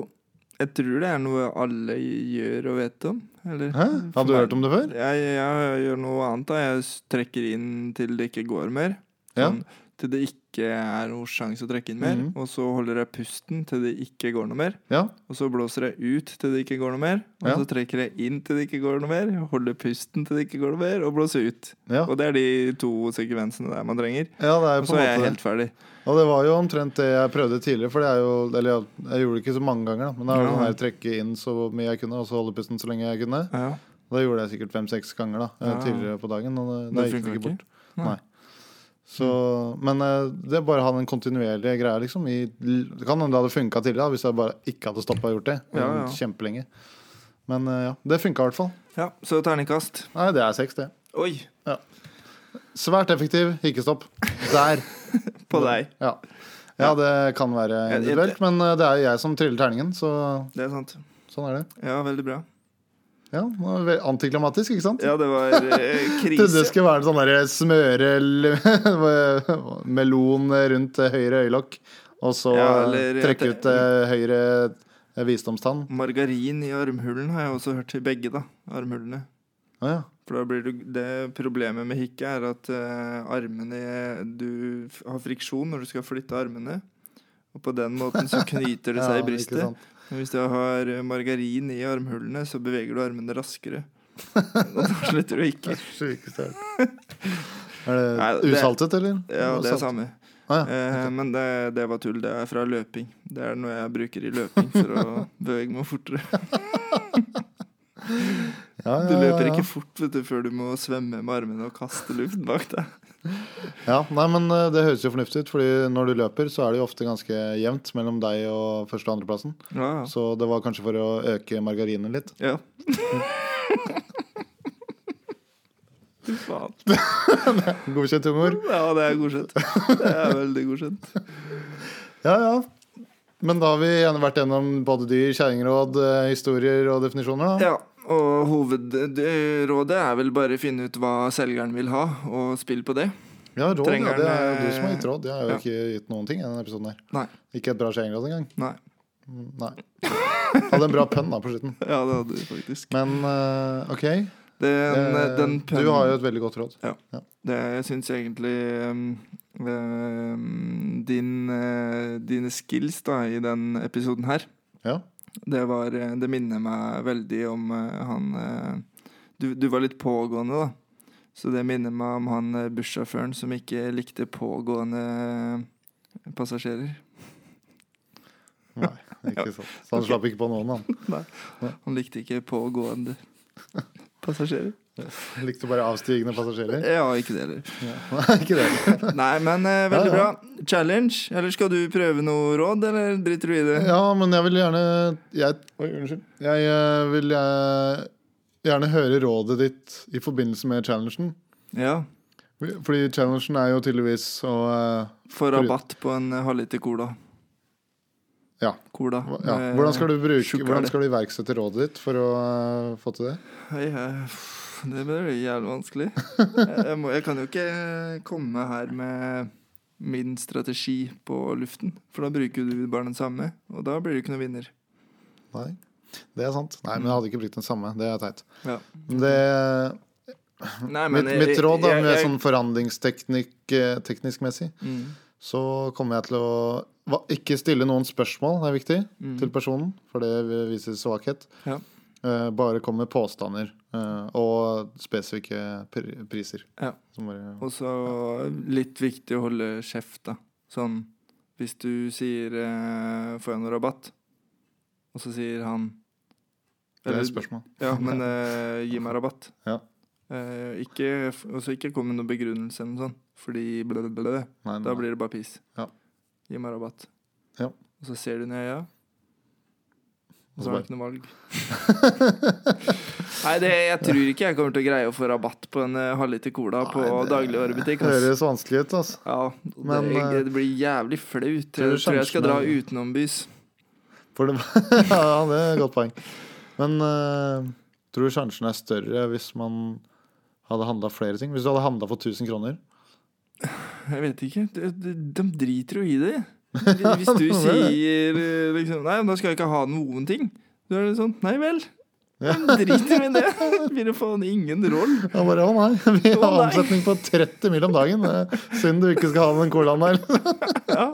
Speaker 2: Jeg tror det er noe alle gjør og vet om. Eller?
Speaker 1: Hæ? Hadde du hørt om det før?
Speaker 2: Jeg, jeg gjør noe annet. da Jeg s- trekker inn til det ikke går mer.
Speaker 1: Ja.
Speaker 2: Sånn, Til det ikke er noen sjanse å trekke inn mer.
Speaker 1: Mhm.
Speaker 2: Og så holder jeg pusten til det ikke går noe mer.
Speaker 1: Ja.
Speaker 2: Og så blåser jeg ut til det ikke går noe mer. Og
Speaker 1: Ja.
Speaker 2: så trekker jeg inn til det ikke går noe mer. Holder pusten til det ikke går noe mer, og blåser ut.
Speaker 1: Ja.
Speaker 2: Og det er de to sekvensene der man trenger.
Speaker 1: ja, det er jo
Speaker 2: Og
Speaker 1: på
Speaker 2: så er
Speaker 1: en
Speaker 2: jeg
Speaker 1: måte
Speaker 2: helt ferdig.
Speaker 1: Og det var jo omtrent det jeg prøvde tidligere. For det er jo, eller jeg, jeg gjorde det ikke så mange ganger, da. Men det er jo
Speaker 2: Ja.
Speaker 1: sånn her trekke inn så mye jeg kunne, og så holde pusten så lenge jeg kunne.
Speaker 2: Ja.
Speaker 1: Og det gjorde jeg sikkert fem-seks ganger da, eh,
Speaker 2: Ja.
Speaker 1: tidligere på dagen. Og det,
Speaker 2: Det
Speaker 1: det gikk
Speaker 2: funker
Speaker 1: ikke
Speaker 2: ikke?
Speaker 1: bort.
Speaker 2: Nei.
Speaker 1: Nei. Så, men eh, det er bare å ha den kontinuerlige greia, liksom. I, det kan hende det hadde funka tidligere da, hvis jeg bare ikke hadde stoppa og gjort det.
Speaker 2: Ja, ja.
Speaker 1: Kjempelenge. Men eh, ja, det funka i hvert fall.
Speaker 2: Ja, så terningkast.
Speaker 1: Nei, det er seks, det.
Speaker 2: Oi,
Speaker 1: Svært effektiv hikkestopp. Der.
Speaker 2: på deg.
Speaker 1: Ja. ja, det kan være
Speaker 2: Ja, det-
Speaker 1: individuelt, men eh, det er jo jeg som triller terningen, så
Speaker 2: Det er sant.
Speaker 1: sånn er det.
Speaker 2: Ja, veldig bra.
Speaker 1: Ja, det var ve- Antiklimatisk, ikke sant?
Speaker 2: Ja, det var eh,
Speaker 1: Trodde det
Speaker 2: krise.
Speaker 1: skulle være sånn derre smøre l- melon rundt eh, høyre øyelokk, og så
Speaker 2: Ja, eller-
Speaker 1: eh, trekke ut eh, høyre eh, visdomstann.
Speaker 2: Margarin i armhulen har jeg også hørt til begge, da. Armhulene.
Speaker 1: Å ja.
Speaker 2: For da blir du, det Problemet med hikke er at eh, armene Du f- har friksjon når du skal flytte armene. Og på den måten så knyter det
Speaker 1: Ja,
Speaker 2: seg i
Speaker 1: ikke sant.
Speaker 2: brystet. Men hvis du har eh, margarin i armhulene, så beveger du armene raskere. Og da slutter du ikke.
Speaker 1: Sjukeste jeg har hørt.
Speaker 2: Nei,
Speaker 1: Er det
Speaker 2: det-
Speaker 1: usaltet, eller?
Speaker 2: Ja, det er
Speaker 1: Salt.
Speaker 2: samme.
Speaker 1: Å Ah, ja.
Speaker 2: Eh, men det, det var tull. Det er fra løping. Det er noe jeg bruker i løping for å bevege meg fortere.
Speaker 1: Ja,
Speaker 2: Du
Speaker 1: ja, ja,
Speaker 2: løper
Speaker 1: ja.
Speaker 2: ikke fort vet du, før du må svømme med armene og kaste luft bak deg.
Speaker 1: Ja, nei, men eh, Det høres jo fornuftig ut, Fordi når du løper, så er det jo ofte ganske jevnt mellom deg og første- og andreplassen.
Speaker 2: Ja, ja.
Speaker 1: Så det var kanskje for å øke margarinen litt.
Speaker 2: Ja. Fy faen.
Speaker 1: Godkjent humor.
Speaker 2: Ja, det er godkjent. Det er veldig godkjent.
Speaker 1: Ja, ja. Men da har vi gjerne vært gjennom både dyr, kjerringråd, eh, historier og definisjoner. da
Speaker 2: Ja, Og hovedrådet er vel bare finne ut hva selgeren vil ha, og spille på det.
Speaker 1: Ja, råd, ja,
Speaker 2: Trenger
Speaker 1: det er
Speaker 2: den,
Speaker 1: jo du som har
Speaker 2: eh,
Speaker 1: gitt råd. Jeg har jo
Speaker 2: ja.
Speaker 1: ikke gitt noen ting i denne episoden her.
Speaker 2: Nei.
Speaker 1: Ikke et bra skjeengrad engang.
Speaker 2: Nei.
Speaker 1: Mm, Nei. Hadde en bra pønn da på slutten.
Speaker 2: Ja, det hadde du faktisk.
Speaker 1: Men eh, OK.
Speaker 2: Den,
Speaker 1: Eh,
Speaker 2: den
Speaker 1: Du har jo
Speaker 2: pennen
Speaker 1: et veldig godt råd.
Speaker 2: det, Jeg syns egentlig um, um, din, eh, dine skills da, i den episoden her
Speaker 1: Ja.
Speaker 2: Det, var, eh, det minner meg veldig om eh, han eh, du, du var litt pågående, da. Så det minner meg om han eh, bussjåføren som ikke likte pågående eh, passasjerer.
Speaker 1: Nei, ikke sant. Så han
Speaker 2: Ok.
Speaker 1: slapp ikke på noen, han.
Speaker 2: Han likte ikke pågående passasjerer.
Speaker 1: Likte bare avstigende passasjerer.
Speaker 2: Ja, ikke det heller.
Speaker 1: Ja. Nei, ikke det.
Speaker 2: Nei, men eh, veldig
Speaker 1: Ja, ja.
Speaker 2: bra. Challenge. Eller skal du prøve noe råd, eller driter du i det?
Speaker 1: Ja, men jeg vil gjerne Jeg, Oi, unnskyld. jeg eh, vil eh, gjerne høre rådet ditt i forbindelse med challengen.
Speaker 2: Ja.
Speaker 1: Fordi challengen er jo tydeligvis å eh,
Speaker 2: Få rabatt på en eh, halvliter cola.
Speaker 1: Ja.
Speaker 2: Cola. Eh,
Speaker 1: ja. Hvordan skal du bruke
Speaker 2: sjokolade.
Speaker 1: Hvordan skal du iverksette rådet ditt for å eh, få til det?
Speaker 2: Hei, hei. Det blir jævlig vanskelig. Jeg, jeg, må, jeg kan jo ikke eh, komme her med min strategi på luften, for da bruker du bare den samme, og da blir du ikke noen vinner.
Speaker 1: Nei. Det er sant. Nei, men jeg hadde ikke brukt den samme. Det er teit.
Speaker 2: Ja.
Speaker 1: Det,
Speaker 2: Nei,
Speaker 1: mitt,
Speaker 2: jeg-
Speaker 1: mitt råd, da,
Speaker 2: jeg-
Speaker 1: med
Speaker 2: jeg-
Speaker 1: sånn forhandlingsteknikk eh, teknisk messig,
Speaker 2: Mm.
Speaker 1: så kommer jeg til å hva- ikke stille noen spørsmål, det er viktig,
Speaker 2: Mm.
Speaker 1: til personen, for det viser svakhet.
Speaker 2: Ja.
Speaker 1: Eh, Bare komme med påstander eh, og spesifikke pr- priser.
Speaker 2: Ja.
Speaker 1: Som bare,
Speaker 2: Og så litt viktig å holde kjeft, da. Sånn hvis du sier eh, 'får jeg noe rabatt', og så sier han
Speaker 1: det er et spørsmål.
Speaker 2: Ja, men eh, gi meg rabatt.
Speaker 1: Ja.
Speaker 2: Eh, ikke, f- og så ikke kom med noen begrunnelse eller noe sånt, fordi blø, blø, blø.
Speaker 1: Nei,
Speaker 2: Da
Speaker 1: nei.
Speaker 2: blir det bare pis.
Speaker 1: Ja.
Speaker 2: Gi meg rabatt.
Speaker 1: Ja.
Speaker 2: Og så ser du ned i øya, og
Speaker 1: så
Speaker 2: så har du ikke noe valg. Nei, det, jeg tror ikke jeg kommer til å greie å få rabatt på en eh, halvliter cola på
Speaker 1: Nei, det-
Speaker 2: dagligvarebutikk. ass.
Speaker 1: høres vanskelig ut, altså.
Speaker 2: Ja,
Speaker 1: Men, eh,
Speaker 2: det, det blir jævlig flaut.
Speaker 1: tror du
Speaker 2: Jeg tror jeg skal dra
Speaker 1: sjansen er-
Speaker 2: utenombys.
Speaker 1: For det, ja, det er et godt poeng. Men eh, tror du sjansen er større hvis man hadde handla flere ting? Hvis du hadde handla for 1000 kroner?
Speaker 2: Jeg vet ikke. De, de, de driter jo i det. Hvis du sier eh, liksom Nei, da skal jeg ikke ha noen ting. Da er det sånn Nei vel. De driter i det. Blir det faen ingen roll.
Speaker 1: Ja, bare, å nei, Vi
Speaker 2: Å
Speaker 1: har
Speaker 2: nei.
Speaker 1: omsetning på 30 mil om dagen. Det er Synd du ikke skal ha den colaen der.
Speaker 2: Ja.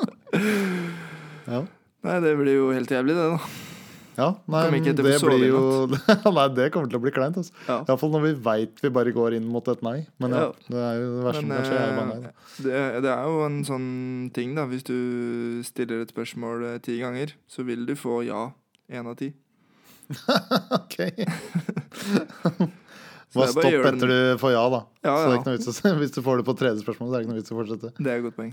Speaker 1: Ja.
Speaker 2: Nei, det blir jo helt jævlig, det, da.
Speaker 1: Ja, nei,
Speaker 2: Kommer ikke
Speaker 1: men
Speaker 2: til å
Speaker 1: det
Speaker 2: sove
Speaker 1: blir
Speaker 2: i
Speaker 1: jo Nei, det kommer til å bli kleint. Altså.
Speaker 2: Ja.
Speaker 1: Iallfall når vi veit vi bare går inn mmot et nei. Men ja,
Speaker 2: Ja.
Speaker 1: det er jo det verste som
Speaker 2: Men,
Speaker 1: kan skje. er jo
Speaker 2: eh,
Speaker 1: bare nei, da.
Speaker 2: det, det er jo en sånn ting, da. Hvis du stiller et spørsmål eh, ti ganger, så vil du få ja én av ti.
Speaker 1: Ok.
Speaker 2: Så
Speaker 1: Bare
Speaker 2: jeg bare
Speaker 1: stopp
Speaker 2: gjør den-
Speaker 1: etter du får ja, da.
Speaker 2: Ja,
Speaker 1: Så det er
Speaker 2: ja.
Speaker 1: ikke noe vits å, hvis du får det på tredje spørsmål, så er det ikke noe vits å fortsette.
Speaker 2: Det er et godt poeng.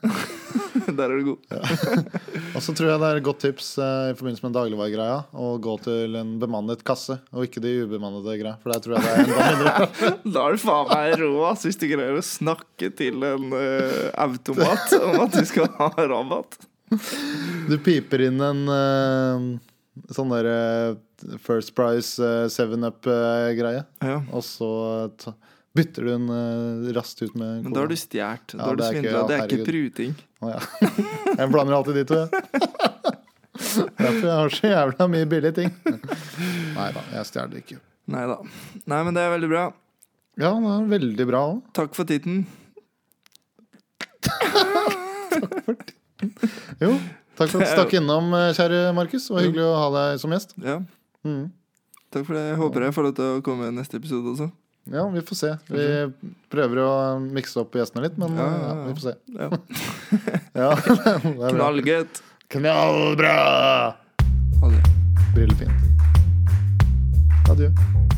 Speaker 2: Der er du god.
Speaker 1: Og så tror jeg det er et godt tips eh, i forbindelse med dagligvaregreia å gå til en bemannet kasse, og ikke de ubemannede greia. For der tror jeg det er enda mindre.
Speaker 2: Da er du faen meg rå ass, hvis du greier å snakke til en eh, automat om at du skal ha rabatt.
Speaker 1: Du piper inn en eh, sånn derre First Price eh, Seven Up-greie,
Speaker 2: Ja,
Speaker 1: og så ta, bytter du den eh, raskt ut med
Speaker 2: Men da har du stjålet.
Speaker 1: Ja,
Speaker 2: da har du
Speaker 1: det er ikke-
Speaker 2: svindla.
Speaker 1: ja,
Speaker 2: Det er ikke
Speaker 1: herregud.
Speaker 2: pruting.
Speaker 1: Å, ja. Jeg blander alltid de to, jeg. Derfor jeg har så jævla mye billige ting. Nei da, jeg stjeler ikke.
Speaker 2: Nei da. Nei, men det er veldig bra.
Speaker 1: Ja, det er veldig bra òg.
Speaker 2: Takk for titten.
Speaker 1: Jo, takk for at du stakk innom, eh, kjære Markus. Det var hyggelig å ha deg som gjest.
Speaker 2: Ja,
Speaker 1: Mm.
Speaker 2: takk for det. Jeg håper jeg får lov til å komme i neste episode også.
Speaker 1: Ja, vi får se. Vi prøver å mikse opp gjestene litt, men
Speaker 2: Ja,
Speaker 1: eh,
Speaker 2: ja,
Speaker 1: ja,
Speaker 2: ja.
Speaker 1: vi får se.
Speaker 2: Ja.
Speaker 1: Ja, det er bra.
Speaker 2: Knallgutt.
Speaker 1: Knallbra!
Speaker 2: Ha det.
Speaker 1: Brillefint. Adjø.